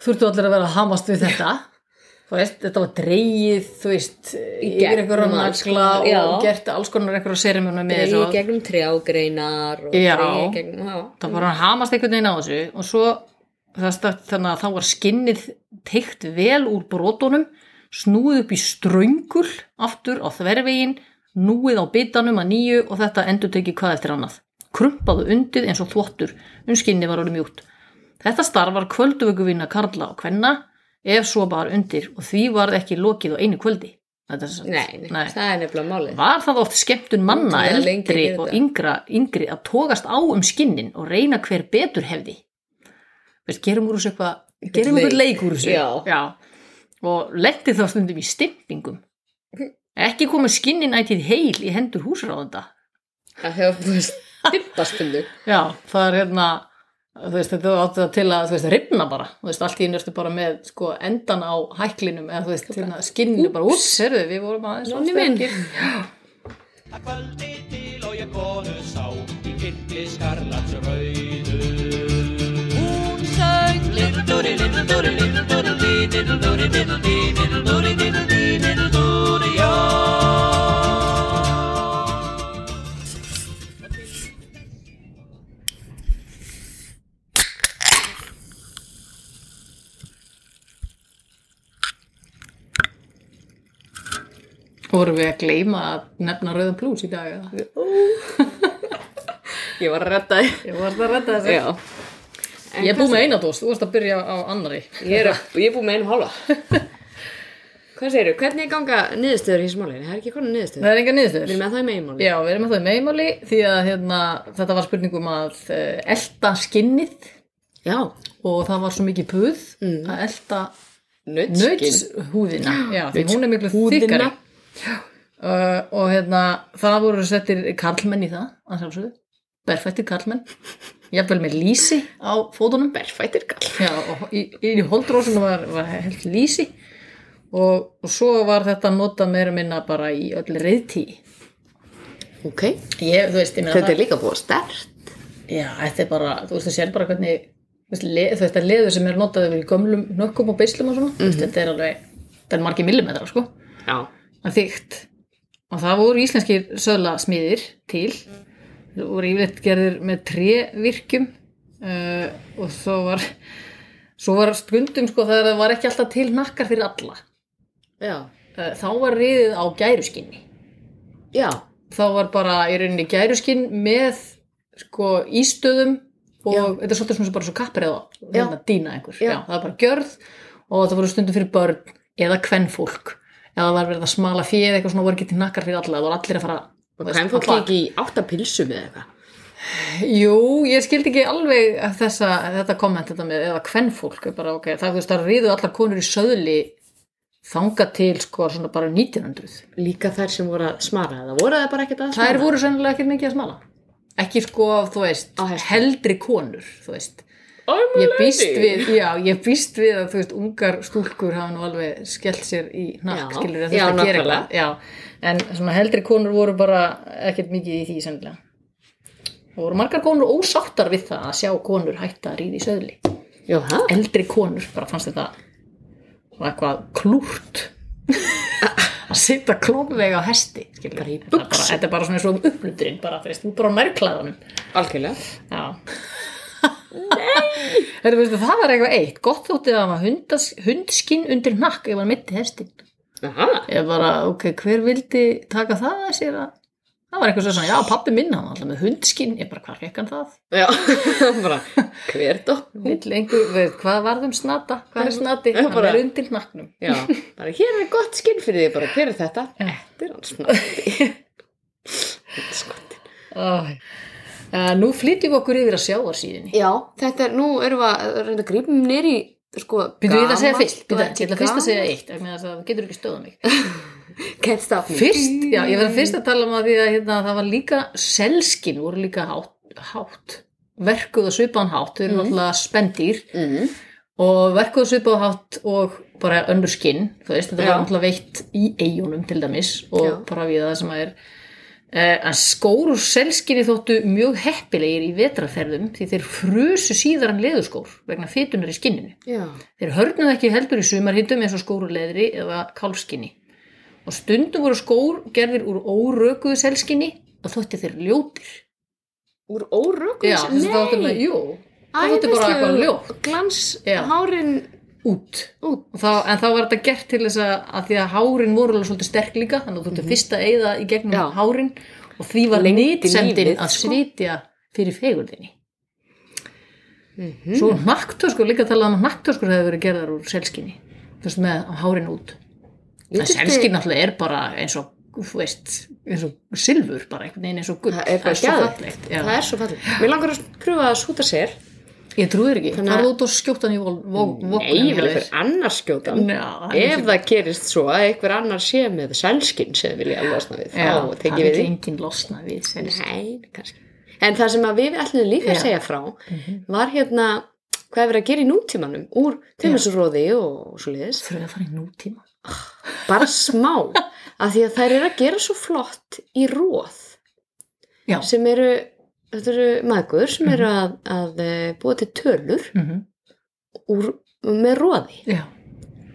Speaker 5: þurftu allir að vera að hamast við þetta
Speaker 4: [LAUGHS]
Speaker 5: þú veist, þetta var dreigið þú veist, yfir
Speaker 4: gegn
Speaker 5: einhverja
Speaker 4: um alls
Speaker 5: nagsla
Speaker 4: konar, já.
Speaker 5: og gert alls konar einhverja serimuna með
Speaker 4: dreigir
Speaker 5: þessu
Speaker 4: gegnum trjágreinar og
Speaker 5: Já.
Speaker 4: dreigir gegnum, já,
Speaker 5: það var að hamast einhvern veginn á þessu og svo það stætt þannig að þá var skinnið teikt vel úr brotunum snúið upp í ströngul aftur á þvervegin núið á bitanum að nýju og þetta endur tekið hvað eftir annað krumpaðu undið eins og þvottur um skinnið var orðið mjúkt þetta starf var kvölduvökuvinna karla og kvenna ef svo bara undir og því varð ekki lokið á einu kvöldi Þetta er sem sagt-
Speaker 4: nei, nei, það er nefnilega málið
Speaker 5: Var það oft skemmtun manna
Speaker 4: Ótrúlega lengi að
Speaker 5: eldri
Speaker 4: gera
Speaker 5: og
Speaker 4: þetta.
Speaker 5: yngra, yngri að togast á um skinnin og reyna hver betur hefði. Veist, gerum úr þessu eitthvað, gerum
Speaker 4: leik.
Speaker 5: eitthvað leik úr þessu.
Speaker 4: Já.
Speaker 5: Og lendi þá stundum í stimpingum. Ekki komu skinnin ætið heil í hendur húsráðanda.
Speaker 4: að um þegar þú veist, dippastundu
Speaker 5: Já, það er hérna, þú veist, þetta átti það til að, þú veist, ripna bara. Þú veist, allt í einu ertu bara með, sko, endan á hæklinum eða, þú veist, hérna, skinninu bara, úps, herðu, við vorum aðeins
Speaker 4: Nonni minn.
Speaker 1: Að kvöldi til og ég konu sá í kitli skarlats rauðu. Hún söng Little-dúri, little-dúri, little-dúri-dí, little-dúri, little-dí, little-dúri, little-dí, little-dúri, já.
Speaker 5: Vorum við að gleyma að nefna rauðan blús í dag eða?
Speaker 4: ég var að redda þig
Speaker 5: Ég varst að redda þessu.
Speaker 4: já,
Speaker 5: Ég er búið með eina dós, þú varst að byrja á annari.
Speaker 4: ég er, að- ég er búin með einu hálfa hvað segirðu, hvernig ganga niðurstöður í þessu máli, það er ekki konar
Speaker 5: Það
Speaker 4: niðurstöður
Speaker 5: er enga
Speaker 4: við
Speaker 5: niðurstöður.
Speaker 4: erum með það í meginmáli
Speaker 5: Já, við erum með það í meðmáli því að hérna, þetta var spurningum að uh, elta skinnið
Speaker 4: já,
Speaker 5: og það var svo mikið puð að elta
Speaker 4: nötskinn
Speaker 5: nötshúðina. Já, því hún er miklu þykkari. Uh, og hérna, það voru settir karlmenn í það, að sjálfsögðu. Berfættir karlmenn. Jafnvel með lýsi á fótunum. Berfættir karlmenn. Já, og í, í, í holdrósinu var, var held lýsi. Og, og svo var þetta notað meira og minna bara í öll reyðtí.
Speaker 4: ok,
Speaker 5: Ég, þú veist, ég meina
Speaker 4: þetta er líka búið stert
Speaker 5: Já, þetta er bara, þú veist, þú sér bara hvernig, þú veist, le, þetta er leður sem er notað yfir í gömlum nökkum og beislum og svona. Þú
Speaker 4: Mhm.
Speaker 5: veist, þetta er alveg, þetta er margir millimetrar, sko.
Speaker 4: já,
Speaker 5: Það er þykkt. Og það voru íslenskir söðlasmiðir til. Það voru yfirleitt gerðir með trévirkjum uh, og svo var, svo var stundum, sko, þegar það var ekki alltaf til nakkar fyrir alla.
Speaker 4: já,
Speaker 5: Uh, þá var riðið á gæruskinni.
Speaker 4: já
Speaker 5: þá var bara í rauninni gæruskinn með sko ístöðum og þetta er svolítið svona bara svo kappreða hérna dýna einhver, já.
Speaker 4: Já.
Speaker 5: það var bara gjörð og það voru stundum fyrir börn eða kvennfólk, eða það var verið að smala fjöð eitthvað svona voru ekki til nakkar fyrir alla það voru allir að fara
Speaker 4: og
Speaker 5: þú veist,
Speaker 4: hvað fólk
Speaker 5: alla-
Speaker 4: ekki í átta pilsum eða eitthvað
Speaker 5: Jú, ég skildi ekki alveg að þessa, þetta komment þetta með eða kvennfólk, ég bara ok, það, þú veist, það ríðu allar konur í söðli þanga til sko svona bara 1900
Speaker 4: líka þær sem voru að smara eða voru það bara ekkert að smara
Speaker 5: Þær voru sennilega ekkert mikið að smala. Ekki sko, þú veist,
Speaker 4: Á hesti.
Speaker 5: heldri konur, þú veist.
Speaker 4: I'm a
Speaker 5: Ég býst
Speaker 4: lady.
Speaker 5: við, já, ég býst við að, þú veist, ungar stúlkur hafa nú alveg skellt sér í nakk,
Speaker 4: Já.
Speaker 5: skilur
Speaker 4: Já,
Speaker 5: þetta gera
Speaker 4: nákvæmlega.
Speaker 5: eitthvað. Já, en svona heldri konur voru bara ekkert mikið í því sennilega. Og voru margar konur ósáttar við það að sjá konur hætta að ríði í söðli.
Speaker 4: já, það
Speaker 5: Eldri konur, bara fannst þetta svona eitthvað [LAUGHS] klúrt að sitja klónvega á hesti, skilur.
Speaker 4: Bara í
Speaker 5: Þetta er
Speaker 4: buxum.
Speaker 5: Þetta er bara svona eins og upplundurinn, bara, þú veist, þú er bara á nærklæðanum.
Speaker 4: Algjörlega.
Speaker 5: Já. Nei! Þetta, veistu, það var eitthvað eitt. Gott þótti að hafa hundas, hundskinn undir nakk ef hann mitti hestinn.
Speaker 4: Aha.
Speaker 5: Ég bara, ok, hver vildi taka það að sér að... Það var eitthvað svo svona, já, pappi minn, hann var alltaf með hundskinn. Ég bara, hvað fekk hann það?
Speaker 4: Já, [LAUGHS] bara hver dótt.
Speaker 5: Vill einhver, veit, hvað varðum snata? Hvað er [LAUGHS] snati?
Speaker 4: Ég
Speaker 5: Hann
Speaker 4: bara-
Speaker 5: er undir nakknum.
Speaker 4: Já, bara hér er gott skinn fyrir því, bara hver er [LAUGHS] þetta? Þetta er hans snatti. Þetta er skotti.
Speaker 5: Æ. Uh, nú flytjum við okkur yfir að sjáarsíðinni.
Speaker 4: Já, þetta er, nú erum við að reynda að grípum nýri, sko,
Speaker 5: Byrjuðu ég ætla að segja fyrst,
Speaker 4: gamalt og ekki
Speaker 5: byrjuðu, ég ætla fyrst að segja
Speaker 4: gamalt.
Speaker 5: eitt, vegna þess að það getur ekki stöðað mig.
Speaker 4: Can't stop me.
Speaker 5: Fyrst, já, ég verði fyrst að tala um að því að hérna, það var líka, selskin voru líka hátt, hátt verkuð og svipaðan hátt, þau eru
Speaker 4: Mhm.
Speaker 5: náttúrulega spendýr
Speaker 4: Mm.
Speaker 5: og verkuð og svipaðan hátt og bara önnur skinn, þú veist, þetta
Speaker 4: Já.
Speaker 5: var náttúrulega veitt í eigunum til dæmis og
Speaker 4: Já.
Speaker 5: bara við það sem að er Uh, en skór úr selskinni þóttu mjög heppilegir í vetraferðum því þeir frusu síðar en leðurskór vegna fytunar í skinninu.
Speaker 4: Já,
Speaker 5: Þeir hörnuð ekki heldur í sumarhittum eins og skór úr leðri eða kálskinni. Og stundum voru skór gerðir úr órökuðu selskinni og þótti þeir ljótir.
Speaker 4: úr órökum
Speaker 5: Já, þess að þáttu með, jú, það þótti bara eitthvað ljótt
Speaker 4: Glans,
Speaker 5: Já.
Speaker 4: hárin út.
Speaker 5: út. Og Þá, en þá var þetta gert til þess að, að því að hárin voru alveg svolítið sterk líka, þannig að þú þurfti fyrst að eyða í gegnum
Speaker 4: Mhm. Já.
Speaker 5: hárin og því var
Speaker 4: Lengdi
Speaker 5: nýtsendin
Speaker 4: lífið,
Speaker 5: að
Speaker 4: sko.
Speaker 5: svitja fyrir fegurðinni.
Speaker 4: Mhm.
Speaker 5: Svo naktöskur, líka talað um að naktöskur hefur verið gerðar úr selskinni, þú veist, með hárin út. En selskin náttúrulega er bara eins og, þú veist, eins og silfur bara einhvern veginn eins og gull.
Speaker 4: Það er bara
Speaker 5: svo
Speaker 4: gæðvegt.
Speaker 5: fallegt.
Speaker 4: Það
Speaker 5: Já.
Speaker 4: er svo fallegt. Mér langar að pröfa að skjóta sér.
Speaker 5: Ég trúir ekki.
Speaker 4: Þannig að-
Speaker 5: Þannig að þú út og skjóta hann í vokkunum.
Speaker 4: Nei, ég vil eitthvað annars skjóta. hann. Ef
Speaker 5: Ef
Speaker 4: það gerist svo að einhver annar sé með selskinn sem vil ég alveg losna við, þá tekið við
Speaker 5: Það
Speaker 4: því.
Speaker 5: er enginn losna við selskin.
Speaker 4: Nei, kannski. En það sem að við ætlum líka að
Speaker 5: Já.
Speaker 4: segja frá var hérna hvað er verið að gera í nútímanum úr tveimisuróði og svo liðis.
Speaker 5: Þurfum við að fara í nútíma.
Speaker 4: Bara smá. af því að þær eru að gera svo flott í róð
Speaker 5: Já.
Speaker 4: sem eru, þetta eru magur sem eru að, að eh, búa til tölur
Speaker 5: Mhm.
Speaker 4: úr, með róði.
Speaker 5: Já.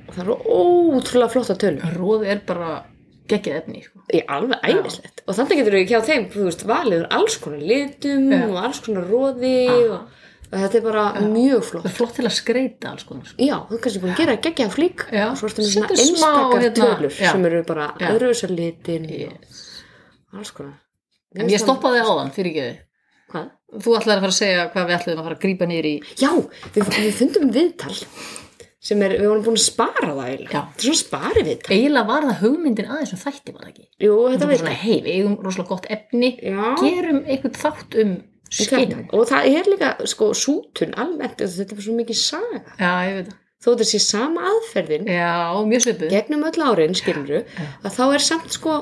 Speaker 4: Og það eru ótrúlega flotta tölur.
Speaker 5: Róð er bara geggjað efni, sko.
Speaker 4: Í alveg æmislegt. Og þannig getur við hjá þeim, þú veist, valið úr alls konar litum
Speaker 5: Já.
Speaker 4: og alls konar róði
Speaker 5: Aha.
Speaker 4: og, og þetta er bara mjög flott.
Speaker 5: Það er flott til að skreita alls konar, sko.
Speaker 4: Já, þú ert kannski búin að gera geggja flík
Speaker 5: Já.
Speaker 4: og svo ertu með svona
Speaker 5: Setur smá,
Speaker 4: einstakar
Speaker 5: hérna,
Speaker 4: tölur
Speaker 5: já.
Speaker 4: sem eru bara
Speaker 5: Já.
Speaker 4: öðruvísar litin
Speaker 5: Yes.
Speaker 4: og alls konar.
Speaker 5: En ég stoppaði áðan, fyrir ekki þið.
Speaker 4: Hvað?
Speaker 5: Þú ætlaði að fara að segja hvað við ætlaðum að fara að grípa niður í.
Speaker 4: Já, við, við fundum viðtal sem er, við vorum búin að spara það eiginlega.
Speaker 5: Já.
Speaker 4: Þetta er svona spari viðtal.
Speaker 5: Eiginlega var það hugmyndin aðeins um þætti, var það ekki?
Speaker 4: Jú,
Speaker 5: Þetta
Speaker 4: þetta
Speaker 5: var
Speaker 4: viðtal.
Speaker 5: svona, hei, við eigum rosalega gott efni,
Speaker 4: Já.
Speaker 5: gerum einhvern þátt um skinn.
Speaker 4: Þetta. Og það er líka, sko, sútun almennt, þetta er svo mikið saga.
Speaker 5: Já, ég veit það.
Speaker 4: Þó þetta sé sama aðferðin,
Speaker 5: Já, mjög svipuð.
Speaker 4: gegnum öll árin, skilur að þá er samt, sko,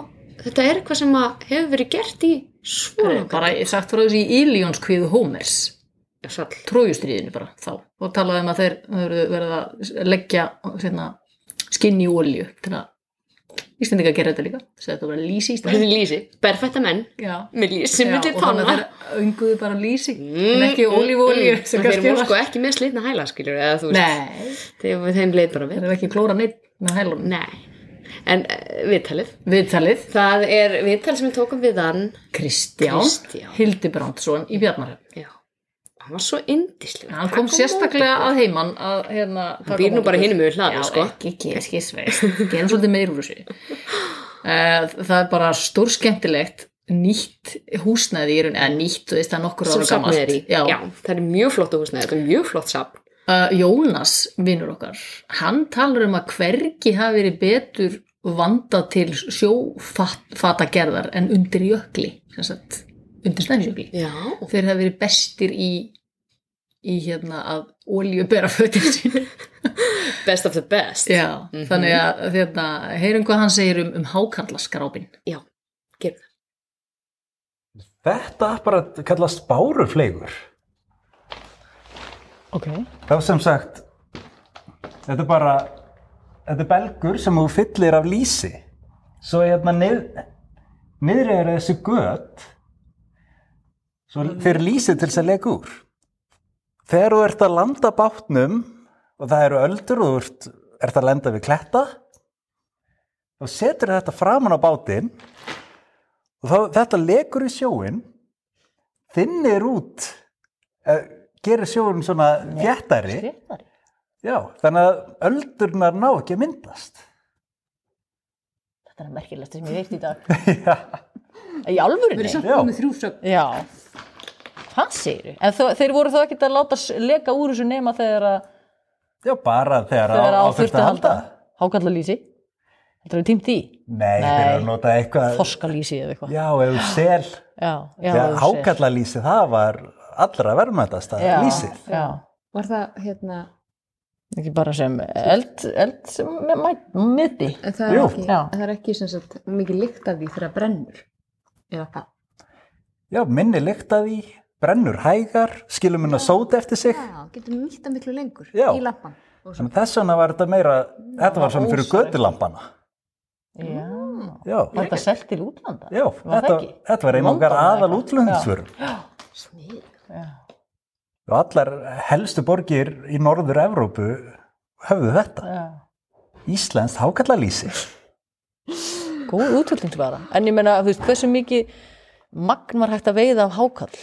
Speaker 4: þetta er eitthvað sem að hefur verið gert í svona.
Speaker 5: Bara ég sagt frá þessi í Iljóns kviðu Hómers,
Speaker 4: Já, sall.
Speaker 5: trójustriðinu bara þá. Og talaði um að þeir verðu verið að leggja sérna, skinn í olju til að Íslendinga gera þetta líka. Þess að þetta var lýsi í
Speaker 4: Þetta
Speaker 5: Íslandi.
Speaker 4: er lísi, berfætta menn
Speaker 5: [LAUGHS] Já.
Speaker 4: með lísi
Speaker 5: Já,
Speaker 4: milli
Speaker 5: og þannig að
Speaker 4: tanna
Speaker 5: þeir önguðu bara lýsi en ekki olífólíu
Speaker 4: mm, mm, þeir voru sko ekki með slitna hæla skiljur eða þú veist,
Speaker 5: Nei,
Speaker 4: þeim, þeim leið bara
Speaker 5: þeir
Speaker 4: vel
Speaker 5: eru ekki klóra neitt með hælunum.
Speaker 4: nei, en uh, viðtalið
Speaker 5: Viðtalið
Speaker 4: það er viðtal sem við tókum við hann
Speaker 5: Kristján,
Speaker 4: Kristján.
Speaker 5: Hildibrandsson í Bjarnarhöfn.
Speaker 4: já, hann var svo indislega
Speaker 5: Hann kom sérstaklega að heiman að hérna... taka
Speaker 4: býr nú
Speaker 5: mót
Speaker 4: bara
Speaker 5: okkur.
Speaker 4: hinum yfir hlaðið, sko.
Speaker 5: Já, ekki, ekki, ekki, sveist. Gerum svolítið meir úr þessu. Eh, Það er bara stór skemmtilegt nýtt húsnæði í raun, eða nýtt, þú veist, það er nokkur
Speaker 4: sem
Speaker 5: ára
Speaker 4: safnið er í,
Speaker 5: gamalt.
Speaker 4: já. það er mjög flott húsnæði, þetta er mjög flott safn
Speaker 5: Uh, Jónas, vinnur okkar, hann talar um að hvergi hafi verið betur vandað til sjófatagerðar en undir jökli, sem sagt, undir snæðisjökli.
Speaker 4: já,
Speaker 5: Þeir hafi verið bestir í, í hérna að olíu bera fötin sín.
Speaker 4: best of the best
Speaker 5: Já,
Speaker 6: Mhm.
Speaker 5: þannig að hérna, heyrum hvað hann segir um, um hákarlaskrápin.
Speaker 4: já, gerum það
Speaker 7: Þetta bara kallast bárufleigur.
Speaker 5: Ok.
Speaker 7: Það var sem sagt, þetta er bara, þetta er belgur sem þú fyllir af lýsi. Svo hérna nið, niður er þessi gött, svo fyrir lýsið til þess að lega úr. Þegar þú ert að landa bátnum og það eru öldur og þú ert, ert að lenda við kletta, þá setur þetta framan á bátinn og þá, þetta legur í sjóin, þinnir út, eh, gerir sjóin svona vjettari. Já, þannig að öldurnar ná ekki að myndast.
Speaker 6: Þetta er merkilegt sem ég veit í dag.
Speaker 7: [LAUGHS] Já,
Speaker 6: Í alvörunni?
Speaker 7: já.
Speaker 6: Já. Hvað segir En þó, þeir voru þó ekkert að láta s- leka úr þessu nema þegar að
Speaker 7: já, bara þegar, á,
Speaker 6: þegar að
Speaker 7: á þurfti að halda.
Speaker 6: Hákallalýsi. Þetta er tímt í.
Speaker 7: Nei, þeir
Speaker 6: Nei.
Speaker 7: eru að nota eitthvað.
Speaker 6: Þorskalýsi eða eitthvað.
Speaker 7: Já, eða sel.
Speaker 5: já, já. þú
Speaker 7: Þegar
Speaker 5: segir.
Speaker 7: hákalla lýsi, það var allra verðmætast að
Speaker 5: Já,
Speaker 7: lýsið.
Speaker 5: Já,
Speaker 4: Var það, hérna,
Speaker 5: ekki bara sem eld, eld sem mæ- miðbi.
Speaker 4: en það er
Speaker 7: Jú.
Speaker 4: ekki,
Speaker 5: Já.
Speaker 4: það er ekki sem sagt mikið lykt af því þegar það brennur. Eða hvað?
Speaker 7: Já, minni lykta því, brennur hægar, skilur minna sót eftir sig.
Speaker 4: Já, getum nýtt að miklu lengur
Speaker 7: Já.
Speaker 4: í lappan. Og svo,
Speaker 7: Þannig að þess vegna var þetta meira, þetta var svona fyrir gödulampana.
Speaker 5: Já,
Speaker 7: Já,
Speaker 5: var þetta selt til útlanda?
Speaker 7: já,
Speaker 5: Var
Speaker 7: þetta,
Speaker 5: það ekki?
Speaker 7: þetta var einu
Speaker 5: London
Speaker 7: okkar
Speaker 5: eða
Speaker 7: aðal
Speaker 5: eitthvað?
Speaker 7: útlöðinsvörum.
Speaker 4: smið.
Speaker 7: Og allar helstu borgir í norður Evrópu höfðu þetta.
Speaker 5: Já.
Speaker 7: Íslenskt hákallalýsi.
Speaker 5: Góð útvölding bara. En ég meina, þú veist, hversu mikið magn var hægt að veiða af hákall?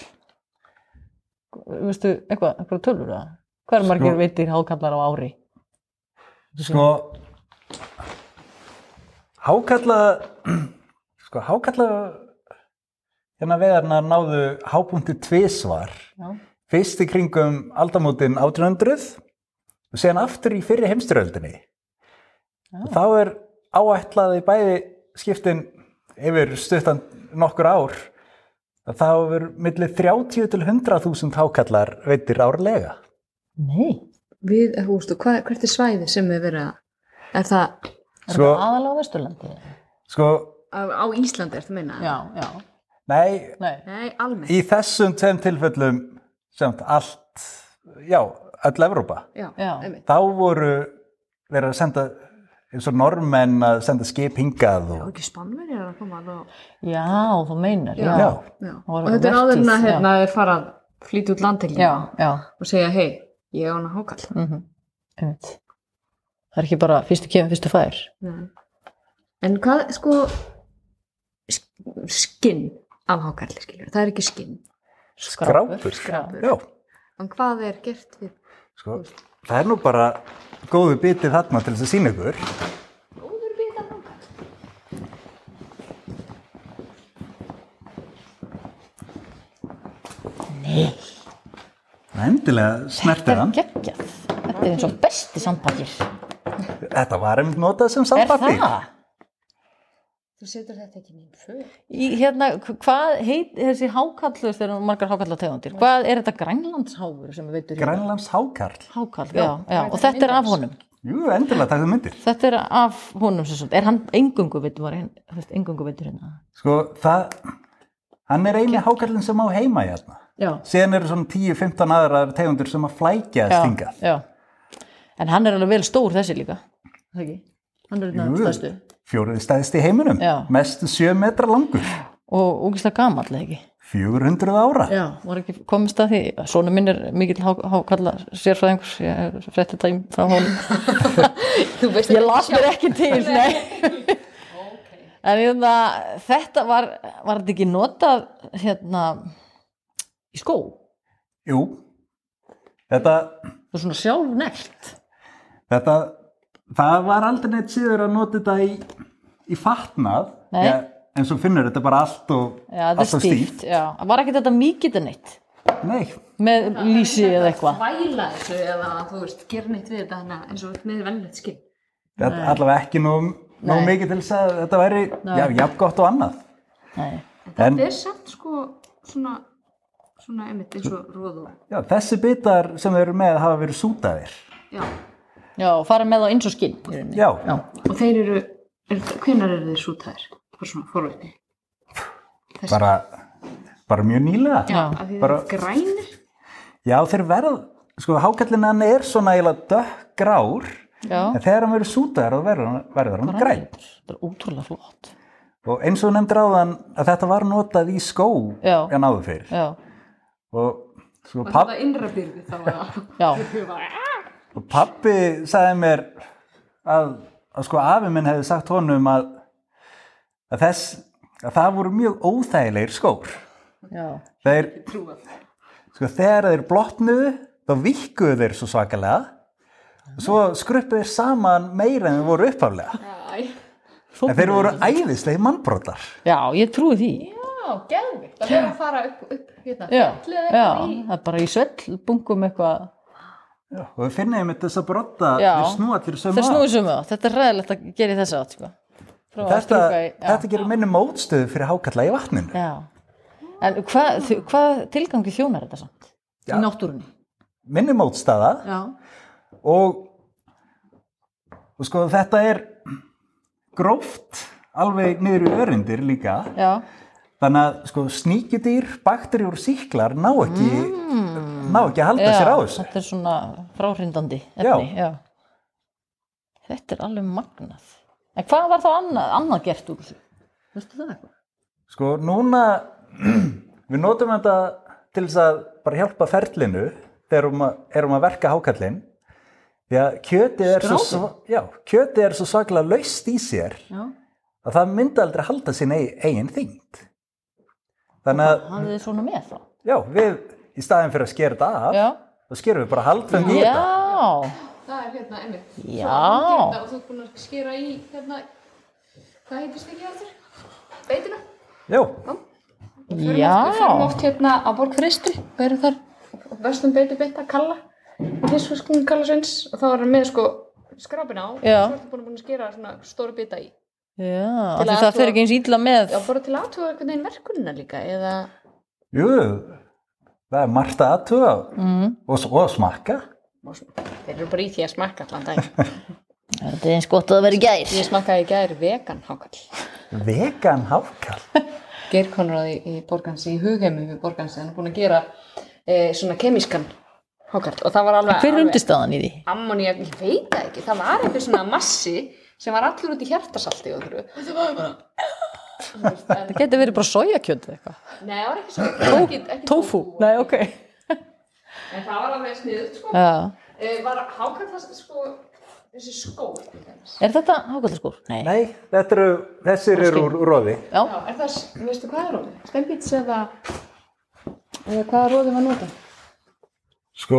Speaker 5: Veistu, eitthvað, eitthvað tölur það? Hver margir
Speaker 7: Sko-
Speaker 5: veitir hákallar á ári?
Speaker 7: Sko, hákalla, [CLEARS THROAT] sko, hákalla, hérna veðarnar náðu hápunkti tvisvar.
Speaker 5: Já.
Speaker 7: Fyrst í kringum aldamótin 1800 og síðan aftur í fyrri heimstyröldinni. Og Þá er áætlaði bæði skiptin yfir stuttan nokkur ár að þá er millir 30 til 100.000 hákallar veitir árlega.
Speaker 5: Nei.
Speaker 4: Við, eh, þú veist, og hvað, hvert er svæði sem við verið að, er það
Speaker 5: Er
Speaker 7: Sko-
Speaker 5: það aðalega á Vesturlandi?
Speaker 7: Sko,
Speaker 4: á, á Íslandi, er það meina?
Speaker 5: Já, já.
Speaker 7: nei,
Speaker 5: Nei.
Speaker 4: Nei, almennt.
Speaker 7: í þessum tveim tilfellum semt allt, já, öll Evrópa,
Speaker 4: Já,
Speaker 5: Já.
Speaker 4: einmitt.
Speaker 7: þá voru verið að senda eins og normenn að senda skip hingað
Speaker 4: Og
Speaker 7: og
Speaker 4: ekki spannverið er að koma alveg. á-
Speaker 5: Já, þú meinar. Já.
Speaker 7: já,
Speaker 4: Já.
Speaker 5: Og
Speaker 4: Og þetta er áður en að
Speaker 5: vertíð,
Speaker 4: hérna er fara að flytja út landhelgina
Speaker 5: um Já, já.
Speaker 4: og segja, hei, ég á hana hákall.
Speaker 5: Mm Einmitt. Það er ekki bara fyrstu kemur, fyrstu fær.
Speaker 4: Nei. En hvað, sko, sk- skinn af hákarli, skiljur, það er ekki skinn.
Speaker 7: skrápur,
Speaker 5: Skrápur.
Speaker 7: já,
Speaker 4: En hvað er gert við
Speaker 7: sko, það er nú bara góðu bitið þarna til þess að sína ykkur
Speaker 5: Nei,
Speaker 7: Það endilega snertir hann.
Speaker 5: geggjað. Þetta er eins og besti sandpapir.
Speaker 7: Þetta var einmitt notað sem
Speaker 5: Er
Speaker 7: sandpappi.
Speaker 5: það?
Speaker 4: Þú setur þetta ekki nýjum fög.
Speaker 5: Í, hérna, hv- hvað heit þessi hákall, þú veist, þeir eru margar hákall tegundir. Hvað er þetta grænlandsháfur sem við veitur hérna?
Speaker 7: Grænlands hákarl.
Speaker 5: Hákall, já, já. Og þetta er af honum.
Speaker 7: Jú, endilega takk myndir.
Speaker 5: Þetta er af honum sem svona. Er hann engungu veitur, var hann, þú veist, engungu veitur hérna?
Speaker 7: Sko, það, hann er eini hákarlinn sem á heima hérna.
Speaker 5: Já.
Speaker 7: Síðan eru svona 10-15 aðrar tegundur sem að flækja að stinga.
Speaker 5: Já. En hann er alveg vel stór þessi líka. Það ekki? Hann er hérna
Speaker 7: Jú,
Speaker 5: stærstu.
Speaker 7: Fjóruði stæðist í heiminum,
Speaker 5: Já.
Speaker 7: mest 7 metra langur,
Speaker 5: Og ógislega gamall, eða ekki?
Speaker 7: 400 ára.
Speaker 5: Já, var ekki komist að því Sónu minn er mikill há- hákalla sérfræðingur, ég er frétti dæm frá [LAUGHS] honum Ég las mér ekki til, [LAUGHS] nei En hérna, þetta var var þetta ekki notað hérna í skó
Speaker 7: Jú, þetta,
Speaker 5: og svona sjálfnægt
Speaker 7: þetta, það var aldrei neitt síður að nota þetta í, í fatnað,
Speaker 5: Nei.
Speaker 7: Já, en svo finnur þetta bara allt og,
Speaker 5: Já, það er
Speaker 7: allt og stíft.
Speaker 5: stíft, já Var ekki þetta mikið en eitt
Speaker 7: Nei,
Speaker 5: með lýsi eða eitthvað
Speaker 4: Væla þessu eða, þú veist, gera neitt við þetta hana eins og með velnett skinn.
Speaker 7: þetta er allavega ekki nóg, nóg
Speaker 5: Nei.
Speaker 7: mikið til þess að þetta væri, já, jafn gott og annað.
Speaker 5: Nei,
Speaker 7: En
Speaker 4: Þetta er samt, sko, svona, svona, einmitt, eins og róðu.
Speaker 7: já, þessi bitar sem þeir eru með hafa verið sútaðir.
Speaker 4: Já.
Speaker 5: já, fara með þá eins og skinn í rauninni.
Speaker 7: Já,
Speaker 5: Já.
Speaker 4: Og þeir eru, er, hvenar eru þeir sútaðir? Hvað svona forvitni?
Speaker 7: bara, bara mjög nýlega.
Speaker 5: Já.
Speaker 4: Af því þeir
Speaker 7: Bara-
Speaker 4: eru grænir?
Speaker 7: Já, þeir verð, sko, hákallin hann er svona eiginlega dökkgrár,
Speaker 5: já
Speaker 7: en þegar hann verður sútaður þá verður hann, verður hann græn.
Speaker 5: Þetta er ótrúlega flott
Speaker 7: Og eins og þú nefndir áðan að þetta var notað í skó
Speaker 5: Já.
Speaker 7: en áður fyrir.
Speaker 5: Já,
Speaker 7: Og sko,
Speaker 4: Var
Speaker 7: papp,
Speaker 4: þetta innra byrði þá að...
Speaker 5: já
Speaker 7: og pappi sagði mér að, að sko, afi minn hefði sagt honum að, að þess, að það voru mjög óþægilegir skór.
Speaker 5: Já,
Speaker 7: Þeir, sko, þegar þeir blotnuðu, þá vikkuðu þeir svo svakalega og svo skruppuðu þeir saman meira en þeir voru upphaflega. En þeir voru æðislega mannbrotar.
Speaker 5: já ég trúi því.
Speaker 4: Já, geðvikt. Það verður að fara upp, upp hérna.
Speaker 5: Já, já, það er bara í svellbungum eitthvað.
Speaker 7: Og við finnum einmitt þess að brotta,
Speaker 5: Já.
Speaker 7: þeir snú allir sömu
Speaker 5: Það snúið sem það, þetta er ræðilegt að gera í þess átt, sko. Frá að
Speaker 7: Þetta,
Speaker 5: strjúka í, já.
Speaker 7: þetta gerir minni mótstöðu fyrir hákalla í vatninu.
Speaker 5: Já, En hvað þu- hvað tilgangi þjónar þetta samt?
Speaker 7: Já.
Speaker 5: Í náttúrunni?
Speaker 7: minni mótstaða
Speaker 5: Já.
Speaker 7: og, og sko þetta er gróft alveg niður í öryndir líka
Speaker 5: Já.
Speaker 7: þannig að sko sníkidýr, bakterjur og síklar ná ekki ná ekki að halda sér á þessu
Speaker 5: Hmm, þetta er svona fráhrindandi
Speaker 7: Já.
Speaker 5: Mm. efni. Já. Þetta er alveg magnað. En hvað var þá annað, annað gert úr þessu? Vistu það eitthvað?
Speaker 7: sko núna [CLEARS THROAT] við notum þetta til þess að bara hjálpa ferlinu þegar um að, erum að verka hákallin því að kjötið er svo, svo, já, kjötið er svo svaklega laust í sér
Speaker 5: Já.
Speaker 7: að það myndi aldrei halda sín eigin, eigin þyngd þannig að
Speaker 5: Hafið þið svona með þá?
Speaker 7: já, við í staðin fyrir að skera þetta af
Speaker 5: Já.
Speaker 7: þá skerum við bara haldfeng í þetta
Speaker 5: Já.
Speaker 3: Það er hérna einmitt. Svo
Speaker 5: Já.
Speaker 3: að gera þetta Og þú ert búin að skera í hérna, hvað heitist ekki hættur? Beitina.
Speaker 7: já,
Speaker 3: Við förum
Speaker 5: Já.
Speaker 3: oft hérna á borg fristri og erum þar og vestum beitu beitta kalla og fiskfiskunum kalla sveins og þá erum við með sko skrapin á og
Speaker 5: Já.
Speaker 3: svo ertu búin að búin að skera svona stóra bita í.
Speaker 5: Já, af því
Speaker 3: Til að
Speaker 5: það
Speaker 3: athuga-
Speaker 5: fer ekki eins ítla með
Speaker 3: Já, bara til aðtuga einhvern veginn verkunina líka eða
Speaker 7: jú það er margt að aðtuga mm. og, s- og smakka
Speaker 3: og svona, þeir eru bara í því að smakka allan dag.
Speaker 5: Þetta er eins gott að það veri gæs
Speaker 3: Ég [LAUGHS] smakkaði í gær vegan hákall.
Speaker 7: vegan hákall
Speaker 3: Geir Konráð í, í Borgansi, í hugheimu við Borgansi, hann er búin að gera e, svona kemískan hákarl og það var alveg,
Speaker 5: Hver er
Speaker 3: alveg
Speaker 5: undirstaðan í því?
Speaker 3: ammoníak, ég veit það ekki, það var eitthvað svona massi sem var allur út í hjertasalti og þurru.
Speaker 5: Það getur verið bara sojakjönd eða eitthvað
Speaker 3: Nei, það var ekki svona, það var ekki, ekki
Speaker 5: Tofu? Nei, ok
Speaker 3: En það var alveg sniðut, sko.
Speaker 5: Já.
Speaker 3: E, var hákarl það, sko, þessi skór, til dæmis.
Speaker 5: Er þetta hákaldaskór? Nei.
Speaker 7: nei, þetta eru, þessir eru úr róði
Speaker 3: Já, er það, s- veistu hvað er róðið? Stembits eða, eða hvaða róðið var notað?
Speaker 7: sko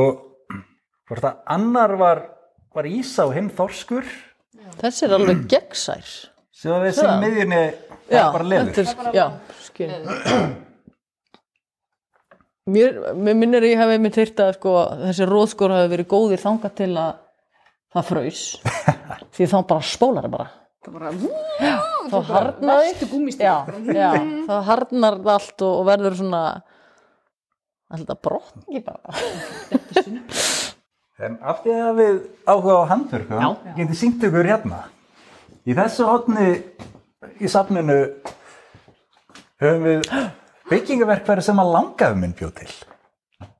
Speaker 7: hvort að annar var, var ísa og hinn þorskur
Speaker 5: Þessi er alveg gegnsær
Speaker 7: sem að við sem miðjunni það
Speaker 5: Já,
Speaker 7: er bara leður
Speaker 5: þetta er- Já, skil Mér, mér minnir að ég hef einmitt heyrt að sko, þessi róðskór hafi verið góðir þangað til að það fraus
Speaker 7: [LAUGHS]
Speaker 5: því þá bara spólar það bara það bara þá harnar já, já, þá harnar það allt og, og verður svona alltaf brotningi bara
Speaker 7: En af því að við áhuga á handverkum, getið sínt ykkur hérna. Í þessu hotni í safninu höfum við byggingaverkfæri sem að langaði minn bjóð til.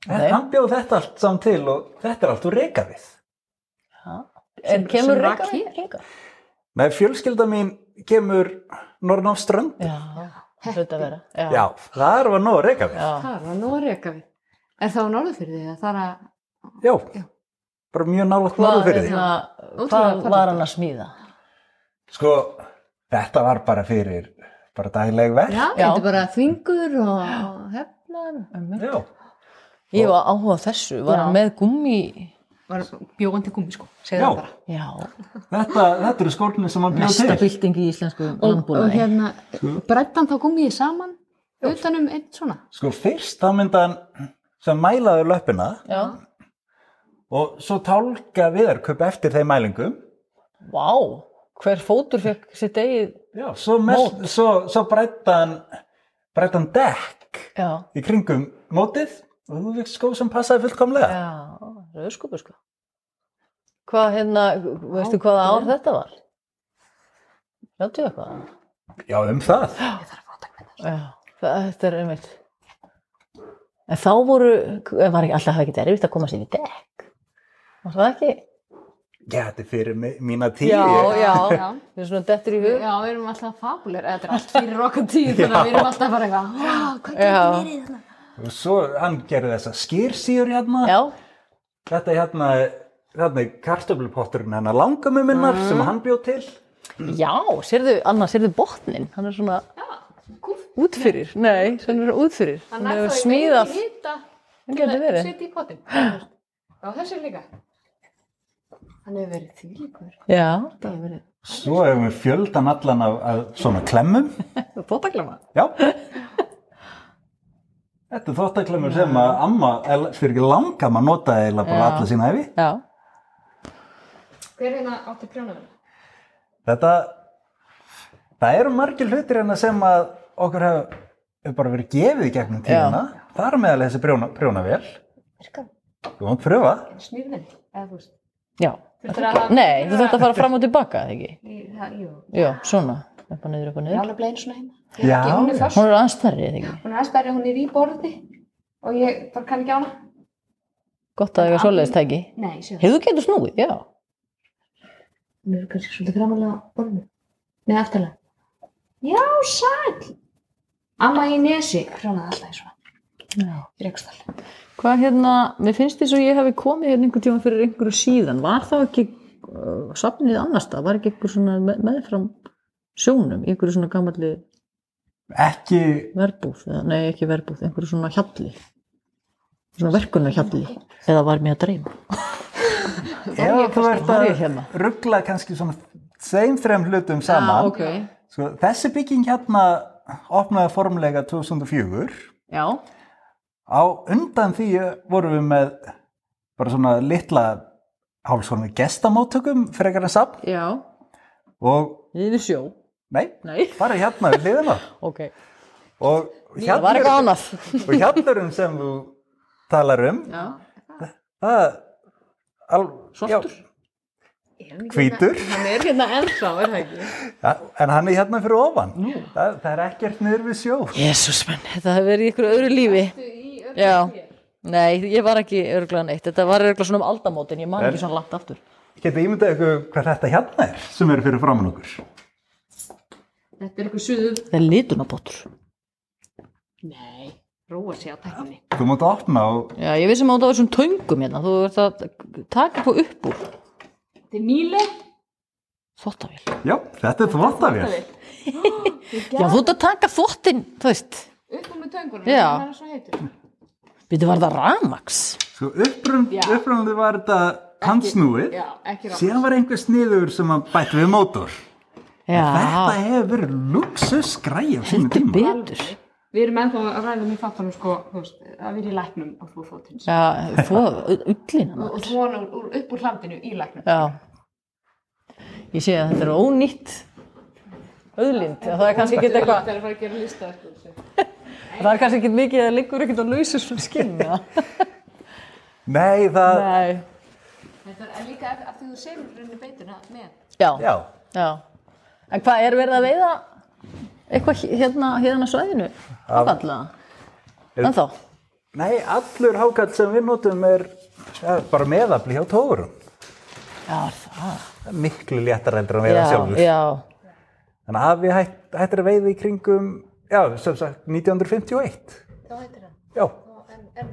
Speaker 5: Nei.
Speaker 7: Hann bjóð þetta allt saman til og þetta er allt úr reykafið.
Speaker 5: en kemur
Speaker 3: sem
Speaker 5: reyka
Speaker 3: rakið?
Speaker 7: Nei, fjölskylda mín kemur norðan á strönd.
Speaker 5: já, það hlut að vera já,
Speaker 7: Já, þar var nóg reykafið.
Speaker 5: já.
Speaker 8: Það var nú að reka við.
Speaker 3: Er það á norðu fyrir því að það er að
Speaker 7: Já. bara mjög nálægt
Speaker 5: Hvað,
Speaker 7: norður fyrir því.
Speaker 5: hérna,
Speaker 3: Ótrúlega
Speaker 5: hvað var
Speaker 3: fallegt.
Speaker 5: hann að smíða
Speaker 7: Sko, þetta var bara fyrir bara dagleg verk.
Speaker 8: Já,
Speaker 5: Já.
Speaker 8: þetta er bara þvingur og hefnar.
Speaker 7: Já.
Speaker 5: ég var áhuga á þessu, var hann með gummi
Speaker 4: Var bjóðan til gummi sko.
Speaker 7: Já,
Speaker 5: já,
Speaker 7: þetta, þetta eru skórnir sem hann bjóð
Speaker 5: mesta
Speaker 7: til.
Speaker 5: bylting í íslensku
Speaker 8: Og, og
Speaker 5: landbúnaði Hm?
Speaker 8: hérna, brettan þá komið þið saman utanum einn svona.
Speaker 7: Sko fyrst þá myndi hann sem mælaði löppina
Speaker 5: já,
Speaker 7: og svo tálka viðarköp eftir þeim mælingum.
Speaker 5: vá hver fótur fekk sitt eigið
Speaker 7: Já, svo, mest, svo, svo breytta hann, breytta hann dekk
Speaker 5: já,
Speaker 7: í kringum mótið og þú veist skó sem passaði fullkomlega.
Speaker 5: já, rauðskupur sko hvað hérna veistu hvaða ár þetta var 30 eitthvað
Speaker 7: Já, um það.
Speaker 5: já, það- þetta er einmitt en þá voru var ekki alltaf ekki erfitt að koma sér í dekk var það ekki?
Speaker 7: Já, þetta er fyrir mi- mína tíu.
Speaker 5: Já, já,
Speaker 8: Já.
Speaker 5: við erum svona dettur í hug
Speaker 8: Já, við erum alltaf fabuleir, þetta er allt fyrir okkar tíu, þannig að við erum alltaf bara eitthvað, "Vá, hvað
Speaker 5: Já.
Speaker 8: getur verið þetta?
Speaker 7: Og svo hann gerði þessa skýrsýur hérna.
Speaker 5: Já,
Speaker 7: Þetta hérna, hérna er kartöflupotturinn hennar langamum minnar sem
Speaker 5: Mm.
Speaker 7: hann bjóð til.
Speaker 5: já, sérðu, Anna, sérðu botnin, hann er svona útfyrir, nei, hann er útfyrir, hann
Speaker 3: nær
Speaker 5: hefur
Speaker 3: þá í
Speaker 5: smíðað,
Speaker 3: veginn í hita
Speaker 5: hann getur verið,
Speaker 3: setja í potin Já, þessi líka Hann hefur verið þvílíkur
Speaker 5: já,
Speaker 7: Svo hefum við fjöldan allan af, af svona klemmum.
Speaker 5: bótaklama,
Speaker 7: Já.
Speaker 5: [LAUGHS]
Speaker 7: Þetta er þvottaklemur sem að amma, el- fyrir ekki langamma notaði eiginlega bara
Speaker 5: Já.
Speaker 7: alla sína hefi.
Speaker 5: já,
Speaker 3: Hver er hérna átti prjónaverða?
Speaker 7: Þetta, það eru margir hlutir hérna sem að okkur hef, hefur bara verið gefið í gegnum tíðina þar meðal þessi prjóna, prjónavél
Speaker 3: Virkar
Speaker 7: þú mátt pröfa
Speaker 3: smíðin, eða þú veist.
Speaker 5: Já.
Speaker 3: Þurftirðu að hafa-
Speaker 5: Nei, þú þurft að fara fram og tilbaka, eða ekki?
Speaker 3: Í- það- Jú,
Speaker 5: Jú, svona. Upp og niður, upp og
Speaker 3: ég er
Speaker 5: niður.
Speaker 3: alveg blein svona heima. Ég,
Speaker 7: Já,
Speaker 3: ekki, hún er
Speaker 7: já.
Speaker 3: föst,
Speaker 5: Hún er aðeins stærri, eða ekki?
Speaker 3: hún er aðeins stærri, hún er í borði og ég bara kann ekki á hana.
Speaker 5: Gott að eiga svoleiðist tæki.
Speaker 3: Nei, ég sé það.
Speaker 5: Hefur þú getur snúið? Já.
Speaker 3: Hún er kannski svolítið framalega borðinu. Nei, aftalega. Já, sæl! Amma í nesi, frjónaði alltaf í svona.
Speaker 5: Já.
Speaker 3: Í rekstal.
Speaker 5: Hvað hérna, mér finnst því svo ég hefði komið hérna einhver tíma fyrir einhverju síðan. Var þá ekki uh, safnið annars það? Var ekki einhver svona með, meðfram sjónum, í einhverju svona gamalli
Speaker 7: ekki,
Speaker 5: verbúð, eða, nei ekki verbúð, einhverju svona hjalli. Svona verkunarhjalli. Eða var mér að dreyma.
Speaker 7: ef þú ert
Speaker 5: var
Speaker 7: að
Speaker 5: ég hérna?
Speaker 7: ruggla kannski svona þeim þrem hlutum saman
Speaker 5: ok.
Speaker 7: sko, þessi bygging hérna opnaði formlega 2004
Speaker 5: Já.
Speaker 7: á undan því vorum við með bara svona litla hálfsvona gestamóttökum frekar en safn
Speaker 5: Já.
Speaker 7: og
Speaker 5: Yfir sjó.
Speaker 7: nei,
Speaker 5: Nei.
Speaker 7: bara hérna við hliðina
Speaker 5: Ok. [LAUGHS]
Speaker 7: og
Speaker 5: Það var
Speaker 7: hérna,
Speaker 5: eitthvað annað.
Speaker 7: og hjallurum sem þú talar um
Speaker 5: Já.
Speaker 7: það al,
Speaker 5: Svartur?
Speaker 7: já, hvítur
Speaker 4: Hann er hérna ennþá, er það ekki?
Speaker 7: ja, en hann er hérna fyrir ofan það, það er ekkert niður við sjó
Speaker 5: Jésús menn, þetta hefur verið í ykkur öðru lífi. Já. Nei, ég var ekki örglega neitt. Þetta var örglega svona um aldamótin, ég man
Speaker 7: En-
Speaker 5: ekki svona langt aftur.
Speaker 7: geta ímyndað ykkur hvað þetta hérna er sem eru fyrir framann okkur
Speaker 4: Þetta er eitthvað suðu.
Speaker 5: Það er litunabótur.
Speaker 4: Nei, róa sig á tækni.
Speaker 7: þú mátt opna og
Speaker 5: Já, ég vissi maður að það var svona töngum hérna. Þú ert að taka eitthvað upp úr.
Speaker 4: Þetta er nýleg.
Speaker 5: Þvottavél.
Speaker 7: já, þetta er þvottavél
Speaker 5: Já, þú ert að taka þvottin, þú veist.
Speaker 4: Upp og með töngunum.
Speaker 5: Já.
Speaker 4: Það er svo heitur.
Speaker 5: Býtu var það ramax.
Speaker 7: sko upprum, upprumlega var þetta handsnúið
Speaker 4: Já, ekki rátt.
Speaker 7: síðan var einhver sniður sem að bætt við mótor þetta
Speaker 5: Já,
Speaker 7: hefur verið luxus græja sínum
Speaker 5: þetta er
Speaker 7: tíma
Speaker 5: betur.
Speaker 4: Við erum ennþá að ræða með fattanum sko, þú veist, að vera í læknum og þú fótins.
Speaker 5: Já, þú, ullina
Speaker 4: Og
Speaker 5: maður.
Speaker 4: svona úr, úr, upp úr hlandinu í læknum.
Speaker 5: Já. Ég sé að þetta er ónýtt auðlind. Það er kannski ekki eitthvað
Speaker 4: Það er að fara að gera lista. sko.
Speaker 5: [LAUGHS] Það er kannski ekkert mikið að það liggur ekkert á lausur svona skinna.
Speaker 7: nei, það,
Speaker 5: Nei.
Speaker 4: Þetta er líka að, að því þú segir rauninni beituna með.
Speaker 5: Já, já.
Speaker 7: já
Speaker 5: En hvað er verið að veiða eitthvað hé- hérna, hérna á svæðinu? Áfalla. En þá?
Speaker 7: Nei, allur hákall sem við notum er ja, bara meðafli hjá tórum.
Speaker 5: Já, er það.
Speaker 7: Miklu léttar heldur en
Speaker 5: Já,
Speaker 7: veiða sjálfur.
Speaker 5: já.
Speaker 7: Þannig að við hætt, hættir að veiða í kringum, já, sem sagt, 1951.
Speaker 3: Þá heitir hann.
Speaker 7: Já,
Speaker 3: En, en,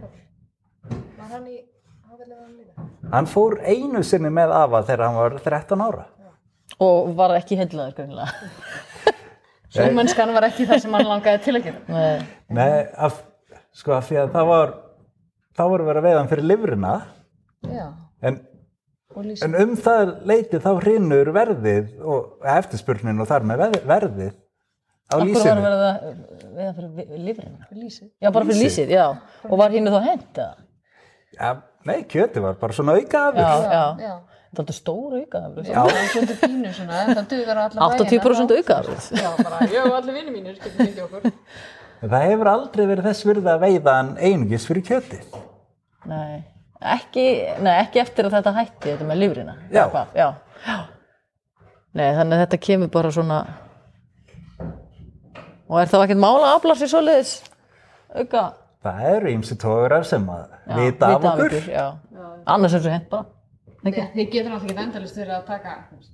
Speaker 3: var hann í, hann vilja vera hann líka?
Speaker 7: hann fór einu sinni með afa þegar hann var 13 ára.
Speaker 5: Og var ekki heillaður
Speaker 7: [LAUGHS]
Speaker 5: grunlega.
Speaker 9: Sjómennskan var ekki það sem hann langaði til að gera.
Speaker 5: Nei.
Speaker 7: Nei, af, sko, af því að það var, þá voru verið að veiða hann fyrir lifrina,
Speaker 3: Já.
Speaker 7: en,
Speaker 3: Og lýsa.
Speaker 7: en um það leiti þá hrinur verðið og eftirspurnin og þar með veð- verðið á
Speaker 5: Akkur var
Speaker 7: lýsinu.
Speaker 5: verið að veiða fyrir vi- lifrina? Fyrir lísið. Já, bara fyrir lísið, já. Og var hínu þá hent, eða?
Speaker 7: Ja, nei, kjöti var bara svona aukaafur.
Speaker 5: Já, já.
Speaker 3: Já.
Speaker 5: Þetta er alltaf stór aukaðafrið.
Speaker 7: Já.
Speaker 3: Það er svolítið pínu svona, en það dugar á alla
Speaker 5: 80% aukaðafrið.
Speaker 3: Já, bara, ég og allir vinni mínir getur fengið okkur.
Speaker 7: En Það hefur aldrei verið þess virði að veiða hann einungis fyrir kjötið.
Speaker 5: Nei. Ekki, nei, ekki eftir að þetta hætti, þetta með lifrina.
Speaker 7: Já.
Speaker 5: Eða hvað? Já. Já. Nei, þannig að þetta kemur bara svona... Og er þá ekkert mála að afla sér svoleiðis? Auka.
Speaker 7: Það eru ímsi tórar sem að
Speaker 5: Já,
Speaker 7: vita af okkur.
Speaker 5: Já. Annars er þessu hent bara. Ekki,
Speaker 4: Þið getur náttúrulega ekki endalist fyrir að taka. þú veist.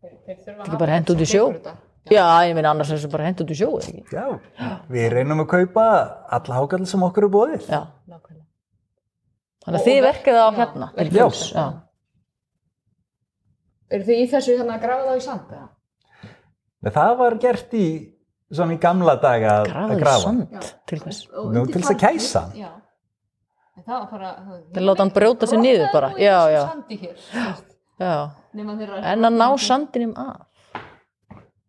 Speaker 4: Þeir, þeir þurfa að
Speaker 5: ekki bara hent út í sjó. Já, ég meina annars er þessu bara hent út í sjó, eða ekki?
Speaker 7: Já, við reynum að kaupa alla hákall sem okkur er bóðið.
Speaker 5: Já. Þannig að þið verkið á hérna. til
Speaker 7: Já.
Speaker 5: fulls, Já.
Speaker 4: Eru þið í þessu þannig að grafa þá í sand? eða?
Speaker 7: En Það var gert í svona í gamla daga að- að
Speaker 5: Grafið
Speaker 7: grafa.
Speaker 5: sand til hvers.
Speaker 4: Og
Speaker 7: Nú,
Speaker 4: undir
Speaker 7: til þess að
Speaker 4: sandinn,
Speaker 7: kæsa hann.
Speaker 4: Já. En það var bara... þú veist,
Speaker 5: Þeir láta hann brjóta sig
Speaker 4: Rotaðu
Speaker 5: niður bara.
Speaker 4: nú í
Speaker 5: Já,
Speaker 4: þessum
Speaker 5: já.
Speaker 4: Sandi hér, þú veist,
Speaker 5: Já.
Speaker 4: nema þeirra...
Speaker 5: En að ná sandinum af.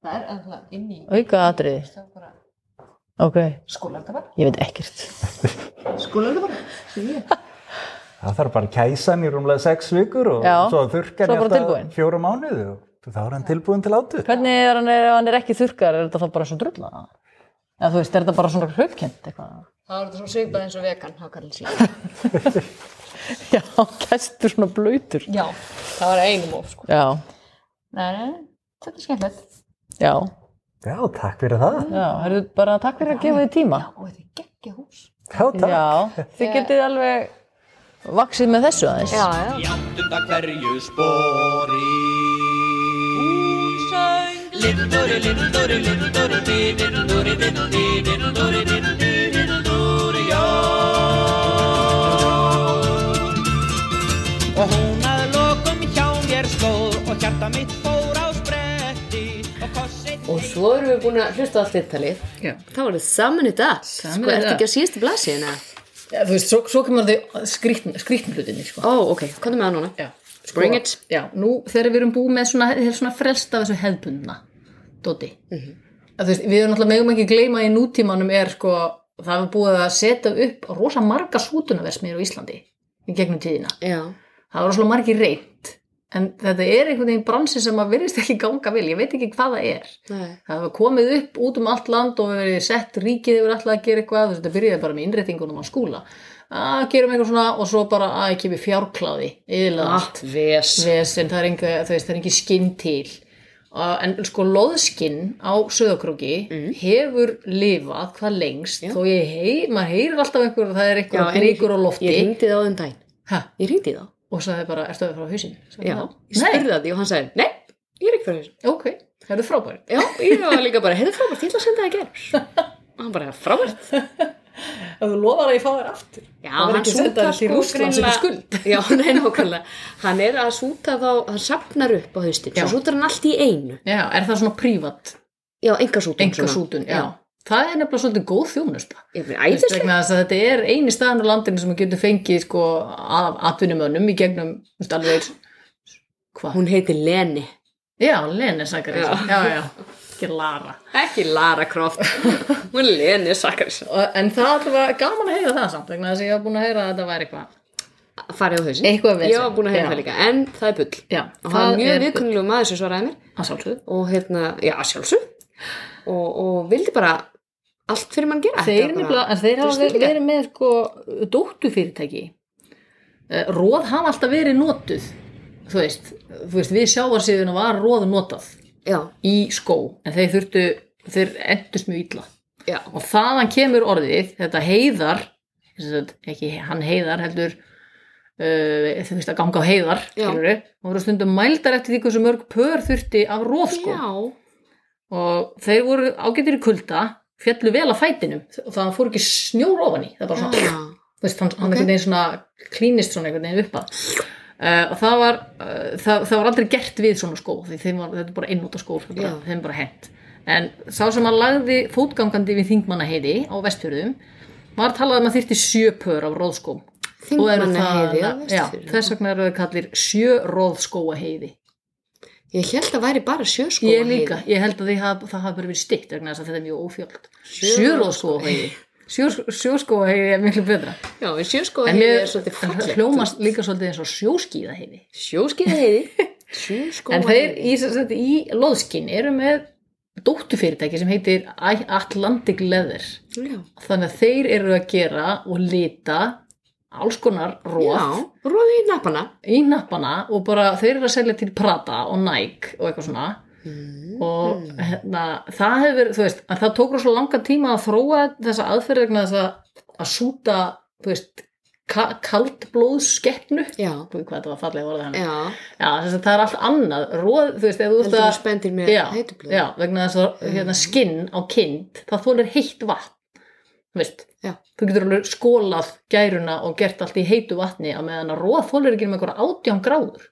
Speaker 4: Það er alltaf inn í...
Speaker 5: Auka atriði.
Speaker 4: Það er bara...
Speaker 5: Ok.
Speaker 4: Skólar það bara.
Speaker 5: Ég veit ekkert.
Speaker 4: Skólar það bara. Svo ég.
Speaker 7: Það þarf bara að kæsa hann í rúmlega sex vikur og
Speaker 5: Já,
Speaker 7: svo að þurrka hann
Speaker 5: svo
Speaker 7: í
Speaker 5: bara tilbúinn.
Speaker 7: alltaf fjóra mánuði og þá er hann tilbúin til átu.
Speaker 5: Hvernig er hann, ef hann er ekki þurrkar, er þetta þá bara svo drulla?
Speaker 6: eða þú veist, er þetta bara svona hrökkjönd eitthvað?
Speaker 4: Það var þetta svona svipað eins og vegan, hákarlinn síðan.
Speaker 6: Já, gæstur svona blöytur.
Speaker 4: Já, það var einum of, sko.
Speaker 6: Já,
Speaker 4: Nei, nei, nei, þetta er skemmtilegt.
Speaker 6: já,
Speaker 7: Já, takk fyrir það.
Speaker 6: já, herðu bara takk fyrir að gefa þið tíma.
Speaker 4: Ó, þetta er geggja hús.
Speaker 7: Já, takk.
Speaker 6: Já, þið getið alveg vaksið með þessu aðeins.
Speaker 4: Já, já.
Speaker 1: í áttunda hverju spori. Hún söng Lindori, lindori, lindori, di, dindori, dindi, dindori, dindi, dindori, já. Og hún að lokum hjá mér stóð og hjarta mitt fór á spretti og kossið
Speaker 4: Og svo erum við búin að hlusta á allt viðtalið.
Speaker 5: Já.
Speaker 4: Það voru saman í dag.
Speaker 5: Saman
Speaker 4: sko,
Speaker 5: í
Speaker 4: ertu
Speaker 5: dag.
Speaker 4: ekki á síðustu blasiðina?
Speaker 5: Já, þú veist, svo, svo kemur þau skrýtn, skrýtnlutinni, sko.
Speaker 4: Ó, ok, komdu með það núna.
Speaker 5: Já.
Speaker 4: Bring it.
Speaker 5: Já, nú þegar við erum búið með svona, þeir svona frelst af þessu hefðbundna, Dóti. að, þú veist, við erum náttúrulega megum ekki gleyma í nútímanum er sko, það er búið að setja upp rosa marga sútunaversmiður á Íslandi í gegnum tíðina.
Speaker 4: Já.
Speaker 5: Það var rosalega margi reynd, en þetta er einhvern veginn bransi sem að virðist ekki ganga vel, ég veit ekki hvað það er.
Speaker 4: Nei.
Speaker 5: Það var komið upp út um allt land og verið sett ríkið yfir alltaf að gera eitthvað, þú veist, þetta byrjaði bara með innréttingunum á skúla. Að gerum eitthvað svona og svo bara að ekki við fjárkláði, yfirlega
Speaker 4: Ah,
Speaker 5: allt
Speaker 4: ves.
Speaker 5: vesen, það er enga, þú veist, það er engi skinn til uh, en sko loðskinn á söðakróki hefur lifað hvað lengst þó ég hei, maður heyrir alltaf einhver það
Speaker 4: Já,
Speaker 5: er einhver
Speaker 4: en
Speaker 5: bríkur á lofti
Speaker 4: Ég ringdi það á þeim daginn.
Speaker 5: ha,
Speaker 4: Ég ringdi það.
Speaker 5: og sagði bara, ertu að vera frá hausin?
Speaker 4: Já. Ég spurði það því og hann sagði, nei, ég er ekki fyrir þessu.
Speaker 5: ok, það eru frábæri
Speaker 4: Já, ég var líka bara, heyrðu frábært, ég ætla að senda það í gerð. [LAUGHS] Og hann bara, frábært.
Speaker 5: ef þú lofar að ég fá þér aftur
Speaker 4: Já,
Speaker 5: Það verður
Speaker 4: hann
Speaker 5: ekki að senda
Speaker 4: sútar
Speaker 5: þér til
Speaker 4: sko
Speaker 5: Rússlands
Speaker 4: greinilega-
Speaker 5: fyrir skuld.
Speaker 4: [LAUGHS] Já, nei, nákvæmlega. Hann er að súta þá, hann safnar upp á haustin. Svo
Speaker 5: Já.
Speaker 4: sútar hann allt í einu.
Speaker 5: já, er það svona prívat,
Speaker 4: Já, enga sútun.
Speaker 5: enga sútun já. það er nefnilega svolítið góð þjónusta
Speaker 4: Ég finn
Speaker 5: Þú veist,
Speaker 4: æðislega.
Speaker 5: vegna þess að þetta er eini staðan á landinu sem getur fengið sko af atvinnumönnum í gegnum, þú veist, alveg hvað?
Speaker 4: Hún heitir Leni.
Speaker 5: Já, Lene Sakarísson, já, já, ekki Lara.
Speaker 4: Ekki Lara Croft. Hún er Leni Sakarsson.
Speaker 5: Og- En það alltaf var gaman að heyra það samt, vegna þess að ég var búin að heyra að þetta væri eitthvað.
Speaker 4: Farið á haustin.
Speaker 5: Eitthvað vesen.
Speaker 4: Ég var búin að heyra
Speaker 5: Já.
Speaker 4: það líka, en það er bull.
Speaker 5: Já,
Speaker 4: Og hann er mjög viðkunnulegu maður sem svaraði mér.
Speaker 5: Að sjálfsögðu.
Speaker 4: Og hérna, já, sjálfsög. Og, og vildi bara allt fyrir mann gera. Þetta
Speaker 5: Þeir,
Speaker 4: var
Speaker 5: nefnilega, en þeir hafa
Speaker 4: þetta er
Speaker 5: verið,
Speaker 4: snillingar.
Speaker 5: verið með sko dóttufyrirtæki. Eh, Róð hafa alltaf verið notuð, þú veist, þú veist við sjáarsýðuna var róð notað
Speaker 4: Já,
Speaker 5: í skó, en þeir þurftu, þeir endust mjög illa.
Speaker 4: já.
Speaker 5: og þaðan kemur orðið þetta heiðar sem sagt, ekki hann heiðar heldur uh, þú veist að ganga á heiðar
Speaker 4: Já.
Speaker 5: skilurðu, og voru stundum mældar eftir því hversu mörg pör þurfti af róðskó
Speaker 4: Já.
Speaker 5: og þeir voru ágættir í kulda fjallu vel að fætinum og það fór ekki snjór ofan í það bara svona
Speaker 4: Já.
Speaker 5: þú veist, hann, hann einhvern veginn svona klínist svona einhvern veginn upp að uh, og það var, uh, það, það var aldrei gert við svona skó, því þeim var, þetta er bara einnóta skó þeim bara,
Speaker 4: Já.
Speaker 5: þeim bara hent en sá sem að lagði fótgangandi við þingmannaheiði á vestfjörðum var talað um að þyrfti sjö pör af róðskóm Og eru
Speaker 4: Þingmannaheiði á
Speaker 5: það-
Speaker 4: Vestfjörðum.
Speaker 5: já, þess vegna eru það kallir sjö róðskóaheiði
Speaker 4: Ég held að væri bara sjöskóa
Speaker 5: ég líka, ég held að haf, það hafa bara verið stitt vegna þess að þetta er mjög ófjöld sjö róðskóaheiði sjóskóaheiði er miklu betra
Speaker 4: Já, en sjöskóa
Speaker 5: En
Speaker 4: heiði
Speaker 5: mér
Speaker 4: er svolítið
Speaker 5: en það
Speaker 4: fallegt.
Speaker 5: hljómast líka svolítið eins og sjóskíða heiði.
Speaker 4: Sjóskíða heiði. Sjöskóa
Speaker 5: En þeir í, sem sagt, í loðskinn eru með dóttufyrirtæki sem heitir Atlantic Leather.
Speaker 4: Já,
Speaker 5: Þannig að þeir eru að gera og lita alls konar róð
Speaker 4: já. Róði í nappana.
Speaker 5: í nappana og bara þeir eru að selja til Prada og Nike og eitthvað svona
Speaker 4: Mm.
Speaker 5: og hérna, það hefur, þú veist, að það tók rosa langa tíma að þróa þessa aðferð vegna þess að að súta, þú veist, ka kaldblóðskeppnu
Speaker 4: Já,
Speaker 5: Guð, hvað þetta var fallega orðið hann
Speaker 4: já.
Speaker 5: Já, þess að það er allt annað, róð, þú veist, ef þú ert
Speaker 4: Heldur þú
Speaker 5: að
Speaker 4: spendir með Mm.
Speaker 5: já,
Speaker 4: heitublöð.
Speaker 5: já, vegna þess að hérna, skinn á kind, það þólar heitt vatn, þú veist,
Speaker 4: Já.
Speaker 5: þú getur alveg skólað gæruna og gert allt í heitu vatni að meðan að róð þólar ekki með einhverja átján gráður,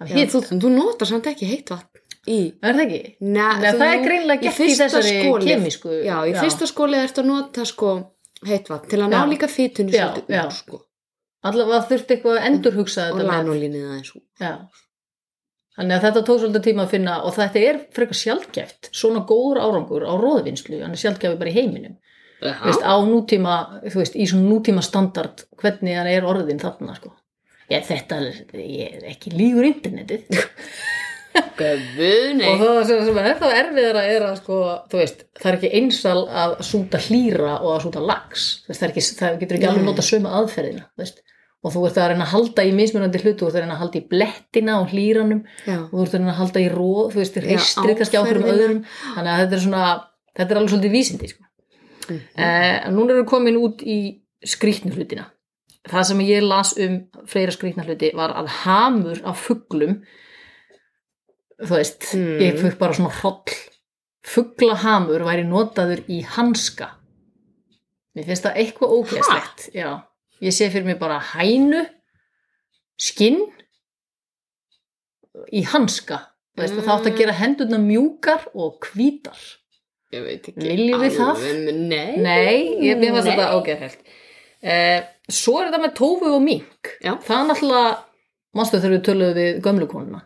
Speaker 5: það
Speaker 4: Hitt,
Speaker 5: hitt,
Speaker 4: þú, þú notar samt ekki heitt vatn í...
Speaker 5: er það ekki?
Speaker 4: Nei,
Speaker 5: Nei, það er greinlega gert í þessari kemísku.
Speaker 4: Já, í
Speaker 5: Já.
Speaker 4: fyrsta skóli ertu að nota sko heitt vatn til að ná
Speaker 5: Já.
Speaker 4: líka fytunni
Speaker 5: Já,
Speaker 4: svolítið
Speaker 5: já.
Speaker 4: úr sko.
Speaker 5: Allavega þurfti eitthvað að endurhugsa
Speaker 4: Og
Speaker 5: þetta með-
Speaker 4: lanolínið aðeins úr.
Speaker 5: Já. Þannig að þetta tók svolítið tíma að finna og þetta er frekar sjálfgæft, svona góður árangur á róðvinnslu, hann er sjálfgæfi bara í heiminum. Þú veist, á nútíma, þú veist, í svona nútíma standard, hvernig hann er orðin þarna, sko. Ég, þetta er, ég er ekki lífur internetið.
Speaker 4: Guðni
Speaker 5: og það sem, sem er þá erfiðara er að sko, þú veist, það er ekki einsal að súta hlýra og að súta lax Þú veist, það, er ekki, það getur ekki alveg nota sömu aðferðina þú veist. og þú ert að reyna að halda í mismunandi hlutu þú ert að reyna að halda í blettina og hlýranum
Speaker 4: Já.
Speaker 5: og þú ert að reyna að halda í róð þú veist, reistri kannski á hverjum
Speaker 4: áferðina.
Speaker 5: öðrum þannig að þetta er svona, þetta er alveg svolítið vísindi sko. eh, núna erum við komin út í skrýtnu hlutina það sem ég las um fleira skrýtna hluti var að hamur á fuglum þú veist,
Speaker 4: Mm.
Speaker 5: ég fugg bara svona hroll fuglahamur væri notaður í hanska mér finnst það eitthvað ógeðslegt já, ég sé fyrir mig bara hænu skinn í hanska þú veist, mm. það átt að gera hendurna mjúkar og hvítar
Speaker 4: ég veit ekki
Speaker 5: Viljum við það?
Speaker 4: alveg, nei,
Speaker 5: Nei, ég mér fannst
Speaker 4: Nei.
Speaker 5: þetta ágæðhelt. Eh, svo er þetta með tófu og mink.
Speaker 4: Já.
Speaker 5: Það er náttúrulega, mástu þegar við töluðum við gömlu konuna,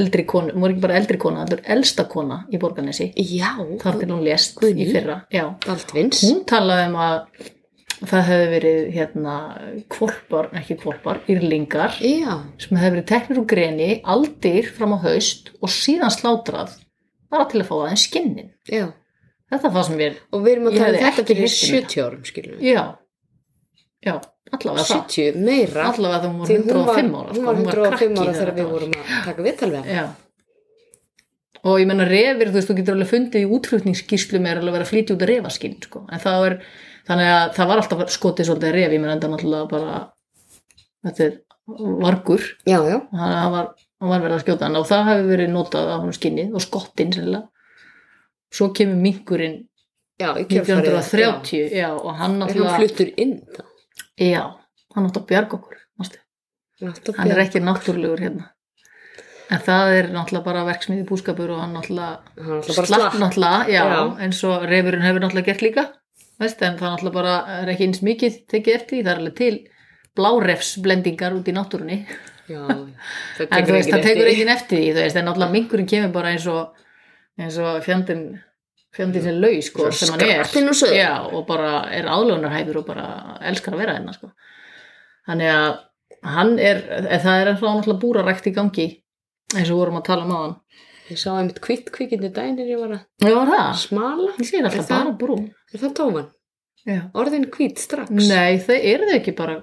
Speaker 5: eldri konu, hún var ekki bara eldri kona, þetta er elsta kona í Borganesi,
Speaker 4: já,
Speaker 5: þar til hún lést
Speaker 4: Guðný?
Speaker 5: í fyrra. Já.
Speaker 4: Baldvins
Speaker 5: Hún talaði um að það hefði verið hérna kvolpar, ekki kvolpar, írlingar
Speaker 4: já,
Speaker 5: sem hefði verið teknir úr greni, aldir fram á haust og síðan slátrað bara til að fá aðeins skinnin.
Speaker 4: já
Speaker 5: Þetta fannst mér
Speaker 4: og við erum að
Speaker 5: Ég
Speaker 4: tala um
Speaker 5: hefði
Speaker 4: þetta
Speaker 5: ekki
Speaker 4: fyrir
Speaker 5: heyrt um
Speaker 4: 70 árum skilum
Speaker 5: Já, já, allavega það.
Speaker 4: 70 meira
Speaker 5: Allavega þegar hún var
Speaker 4: Því hún
Speaker 5: 105 ára. sko,
Speaker 4: hún var 105 ára þegar við
Speaker 5: þetta
Speaker 4: vorum að taka viðtal við hann
Speaker 5: Já. Og ég menna refir, þú veist, þú getur alveg fundið í útflutningsskýrslum er alveg verið að flytja út að refaskinn, sko. En það er, þannig að það var alltaf skotið svolítið refi, ég menna enda náttúrulega bara, þetta er vargur,
Speaker 4: já, já,
Speaker 5: þannig að hann var, hann var verið að skjóta hann og það hefur verið notað á hann skinnið og skottinn sérlega. Svo kemur minkurinn
Speaker 4: já, í kjölfarið,
Speaker 5: 1930, já. og hann
Speaker 4: já. er hann
Speaker 5: náttúrulega,
Speaker 4: fluttur inn þá
Speaker 5: já, hann náttúrulega bjarg okkur, mástu. hann er ekki náttúrulegur hérna en það er náttúrulega bara verksmiði búskapur og hann náttúrulega
Speaker 4: hann er alltaf bara
Speaker 5: slapp
Speaker 4: slapp
Speaker 5: náttúrulega, já,
Speaker 4: Já.
Speaker 5: eins og reyfurinn hefur náttúrulega gert líka veist, en það náttúrulega bara er ekki eins mikið tekið eftir því, það er alveg til blárefsblendingar út í náttúrunni
Speaker 4: já, já. það
Speaker 5: en þú veist, það
Speaker 4: enginn
Speaker 5: tekur
Speaker 4: eftir.
Speaker 5: enginn eftir því þú veist, en náttúrulega mingurinn kemur bara eins og eins og fjandinn fjandinn sem laus, sko,
Speaker 4: Svo
Speaker 5: sem hann er
Speaker 4: skrattinn og suður.
Speaker 5: já, og bara er aðlunarhæfur og bara elskar að vera hérna, sko þannig að hann er, eh, það er ennþá náttúrulega búrarækt í gangi eins og við vorum að tala um á hann
Speaker 4: Ég sá einmitt kvitt kvikindi dænir ég var að
Speaker 5: já, var það,
Speaker 4: smala.
Speaker 5: Ah. ég segir
Speaker 4: Er
Speaker 5: alltaf
Speaker 4: það-
Speaker 5: bara brú
Speaker 4: Er það tófan?
Speaker 5: já.
Speaker 4: Orðin kvít strax?
Speaker 5: nei, þau eru þau ekki bara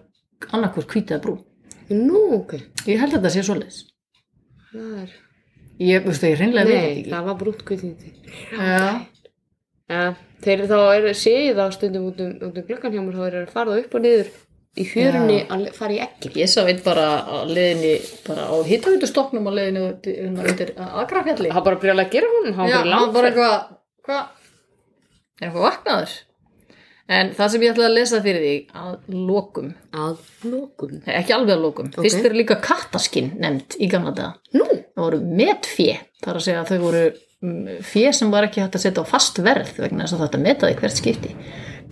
Speaker 5: annarkur hvítið brú,
Speaker 4: Nú, ok.
Speaker 5: ég held að þetta sé svoleiðis
Speaker 4: Það er...
Speaker 5: ég, veistu, ég reynlega veit
Speaker 4: Nei,
Speaker 5: þetta
Speaker 4: það var brúnt kvítindi.
Speaker 5: ekki já,
Speaker 4: Ja, þeir þá er, sé ég það stundum út um, út um glöggan hjá mér, þá er það að fara það upp og niður í fjörunni að le- fara í ekki.
Speaker 5: Ég sá einn bara á leiðinni, bara á hittavítustokknum á leiðinni út- hérna undir Akrafjalli.
Speaker 4: Það bara brjálega að gera hún, það
Speaker 5: Já,
Speaker 4: var
Speaker 5: hann
Speaker 4: bara
Speaker 5: bara
Speaker 4: langt.
Speaker 5: eitthvað, hvað, er eitthvað vaknaður? En það sem ég ætlaði að lesa fyrir því, að lokum,
Speaker 4: Að lókun.
Speaker 5: Nei, ekki alveg að lokum, fyrst eru líka kattaskinn nefnd í gamla daga.
Speaker 4: Nú,
Speaker 5: Það voru metfé, þar að segja að þau voru mm, fé sem var ekki hægt að setja á fast verð vegna þess að þetta metaði hvert skipti.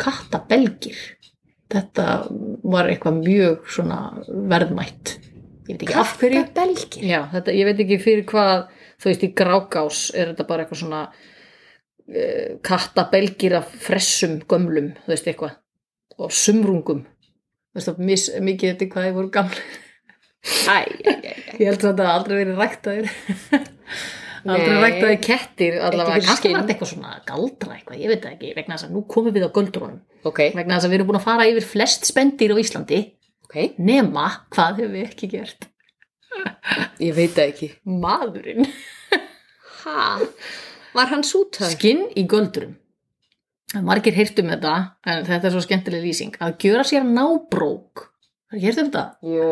Speaker 5: Kattabelgir, þetta var eitthvað mjög svona verðmætt. Ég veit ekki af hverju.
Speaker 4: það er belgir.
Speaker 5: Já, þetta, ég veit ekki fyrir hvað, þú veist, í grákás er þetta bara eitthvað svona uh, kattabelgir af fressum gömlum, þú veist, eitthvað, og sumrungum. Þú veist, það mis, mikið eftir hvað þið voru gamli.
Speaker 4: Æ, æ, æ, æ.
Speaker 5: [LAUGHS] Ég held að þetta hafi aldrei verið ræktaðir. [LAUGHS] aldrei
Speaker 4: Nei.
Speaker 5: ræktaðir kettir, allavega.
Speaker 4: fyrir
Speaker 5: Kannski
Speaker 4: skinn.
Speaker 5: var þetta eitthvað svona galdra eitthvað, ég veit það ekki, vegna þess að nú komum við á göldrónum.
Speaker 4: Ok,
Speaker 5: Vegna þess að við erum búin að fara yfir flest spendir á Íslandi,
Speaker 4: ok,
Speaker 5: nema hvað hefur við ekki gert?
Speaker 4: ég veit það ekki.
Speaker 5: Maðurinn. [LAUGHS]
Speaker 4: Ha, var hann sútaður?
Speaker 5: skinn í göldurum margir heyrt um þetta en þetta er svo skemmtileg lýsing að gjöra sér nábrók það er heyrt um þetta
Speaker 4: Jú,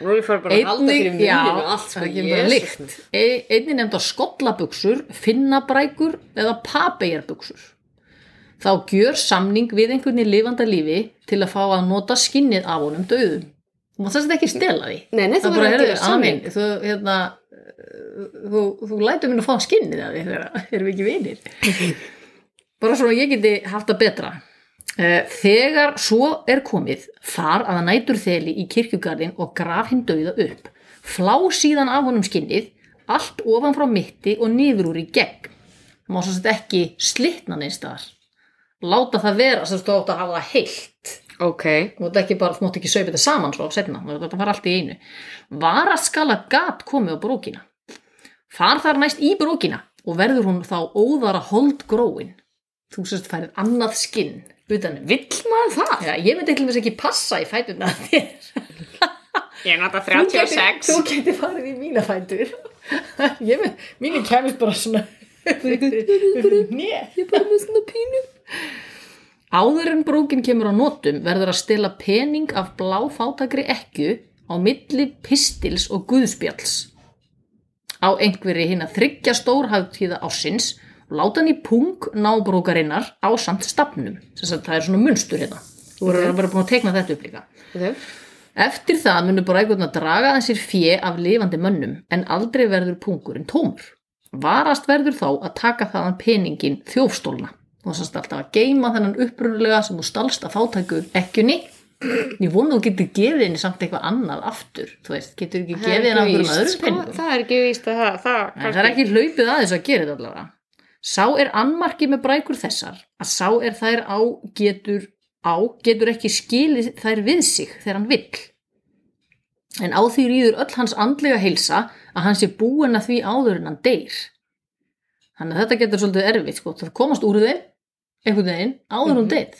Speaker 4: nú er ég farið bara að halda fyrir
Speaker 5: einnig,
Speaker 4: muninu
Speaker 5: já,
Speaker 4: og allt sko,
Speaker 5: það kemur bara
Speaker 4: Jesus
Speaker 5: lykt. Ei- E, einnig nefnd á skollabuxur finnabrækur eða papegjarbuxur þá gjör samning við einhvern í lifanda lífi til að fá að nota skinnið af honum döðum þú mátt þess að ekki stela því
Speaker 4: Nei, nei, þú
Speaker 5: það
Speaker 4: verður
Speaker 5: bara
Speaker 4: að
Speaker 5: er
Speaker 4: gera samning.
Speaker 5: amin þú, hérna, eh, þú, þú lætur mér að fá skinnið af því þegar erum við ekki vinir
Speaker 4: [LAUGHS]
Speaker 5: bara svona ég geti haft það betra Eh, þegar svo er komið far að nætur þeli í kirkjugarðin og graf hinn dauða upp flá síðan af honum skinnið allt ofan frá mitti og niður úr í gegn má svo sett ekki slitna neins þar láta það vera sem þú átt að hafa það heilt
Speaker 4: Ok,
Speaker 5: þú mátt ekki bara, þú mátt ekki saupa þetta saman svo setna, þetta fara allt í einu varaskala gat komið á brókina Far þar næst í brókina og verður hún þá óðara holdgróin. Þú sérst færið annað skinn. Utan, vill maður það? Já, ég myndi eitthvað ekki passa í fætuna [LAUGHS] þér.
Speaker 10: Ég nota
Speaker 5: Þú gæti-
Speaker 10: 36.
Speaker 5: Þú getur farið í mína fætur. [LAUGHS] ég með, mínu kemist bara svona Né.
Speaker 4: Ég er bara með svona pínu.
Speaker 5: Áður en brókin kemur á nótum verður að stela pening af bláfátakri ekju á milli pistils og guðspjalls. Á einhverju hinn að þryggja stórhagtíða ásins og láta hann í pung nábrókarinnar á samt stafnum. Þess að það er svona munstur hérna. Þú verður að vera búin að tekna þetta upp líka.
Speaker 4: Ok.
Speaker 5: Eftir það munur brækurnar draga þessir fjö af lifandi mönnum en aldrei verður pungurinn tómur. Varast verður þá að taka þaðan peningin þjófstólna. Þú sannst alltaf að geima þennan upprunulega sem þú stalst að fátæku ekkjunni. Ég vona þú getur gefið henni samt eitthvað annað aftur. Þú veist, getur ekki gefið
Speaker 4: ekki
Speaker 5: henni einhverjum
Speaker 4: víst,
Speaker 5: öðrum
Speaker 4: sko.
Speaker 5: peningum.
Speaker 10: Það er ekki víst að það, það,
Speaker 5: En það er ekki hlaupið aðeins að gera þetta allavega. Sá er annmarki með brækur þessar að sá er þær á getur á getur ekki skilið þær við sig þegar hann vill. En á því rýður öll hans andlega heilsa að hann sé búin að því áður en hann deyr. Þannig að þetta getur svolítið erfitt sko, það komast úr þeim einhvern veginn áður en hún deyð.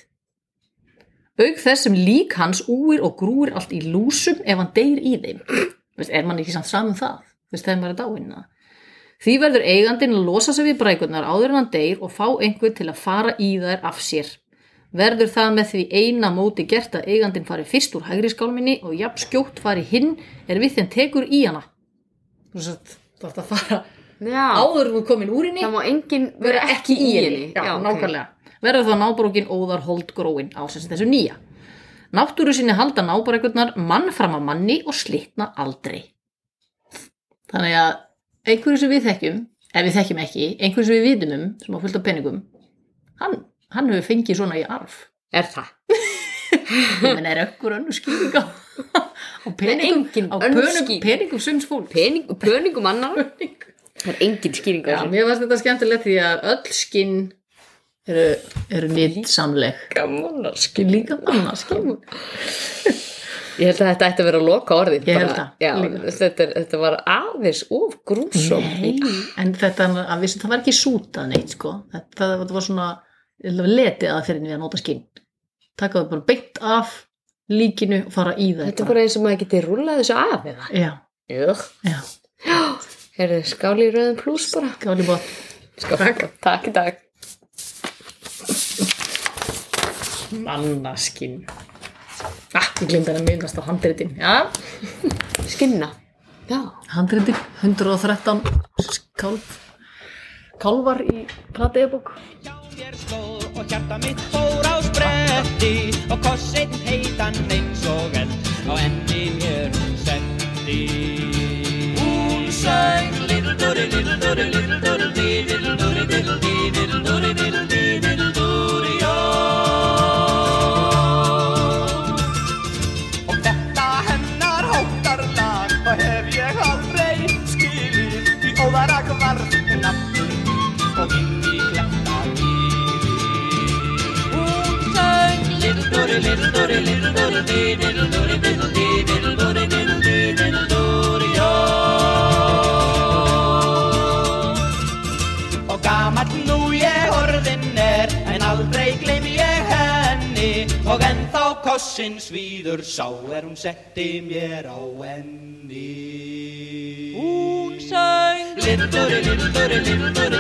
Speaker 5: Auk þess sem lík hans úir og grúir allt í lúsum ef hann deyr í þeim. Veist, er mann ekki samt saman það? Veist, þegar maður er dáinna. Því verður eigandin að losa sig við brækurnar áður en hann deyr og fá einhver til að fara í þær af sér. Verður það með því eina móti gert að eigandin fari fyrst úr hægri skálminni og jafn skjótt fari hinn er við þeim tekur í hana. Þú veist, þú ætti að fara
Speaker 4: Já.
Speaker 5: áður en þú komin úr henni
Speaker 4: Það má enginn
Speaker 5: vera ekki í henni. Já,
Speaker 4: ok.
Speaker 5: nákvæmlega. Verður þá nábrókin óðar holdgróin á sem sagt þessu nýja. Náttúru sinni halda nábrækurnar mann fram að manni og slitna aldrei. Þannig að einhverju sem við þekkjum, ef við þekkjum ekki, einhverju sem við vitum um, sem á fullt af peningum, hann, hann hefur fengið svona í arf.
Speaker 4: Er það?
Speaker 5: Menn er ökkur önnur skýring á, á peningum,
Speaker 4: engin
Speaker 5: á
Speaker 4: önnur
Speaker 5: pönum,
Speaker 4: skýring.
Speaker 5: peningum sums fólk.
Speaker 4: Pening, pöningum annar? [LAUGHS] það er engin skýring á
Speaker 5: Já,
Speaker 4: þessu.
Speaker 5: mér varst þetta skemmtilegt því að öll skinn eru, eru nýtt samleg. Gamanarskinn, líka mannarskinn.
Speaker 4: Ég held að þetta ætti að vera loka orðin.
Speaker 5: Ég
Speaker 4: bara.
Speaker 5: held það,
Speaker 4: Já,
Speaker 5: líka.
Speaker 4: þetta, er- þetta var aðeins of grúsum.
Speaker 5: Nei, en þetta, að við sem það var ekki sútað neitt, sko. Þetta, það, var svona, ég held að letið að fyrir en við að nota skinn. Taka það bara beint af líkinu og fara í það.
Speaker 4: Ah, Þetta er bara eins og maður geti rúlað þessu af eða.
Speaker 5: Já,
Speaker 4: Jög.
Speaker 5: já,
Speaker 4: Er það skáli í rauðum pluss bara?
Speaker 5: gáli bótt.
Speaker 4: Skáli. Takk í dag.
Speaker 5: Mannarskinn. Ah, ég glemd að minnast á handritin. Já,
Speaker 4: Skinna. Já.
Speaker 5: handriti 113 kálf, kálvar í plateðbók.
Speaker 1: Hjá mér stóð og hjarta mitt fór á spretti og kossinn heitan eins og eld á enni mér hún setti. Hún söng Little Dory, Little Dory, Little Dory, Dee, Little Dory, Little Dee, Little Dory, Little Dee, Little Dory, ó. Og þetta hennar hóttarlag og hef ég aldrei skilið Því óðarag var nafnum og inn í kletta Hún söng Little Dory, Little Dory, Little Dory Dee, Little Dory, Little Dee, Little Dory, Little Dee, Little Dory Jó og gamall nú ég orðin er en aldrei gleym ég henni og ennþá kossin svíður sá er hún setti mér á enni Hún söng Little Dory, Little Dory, Little Dory,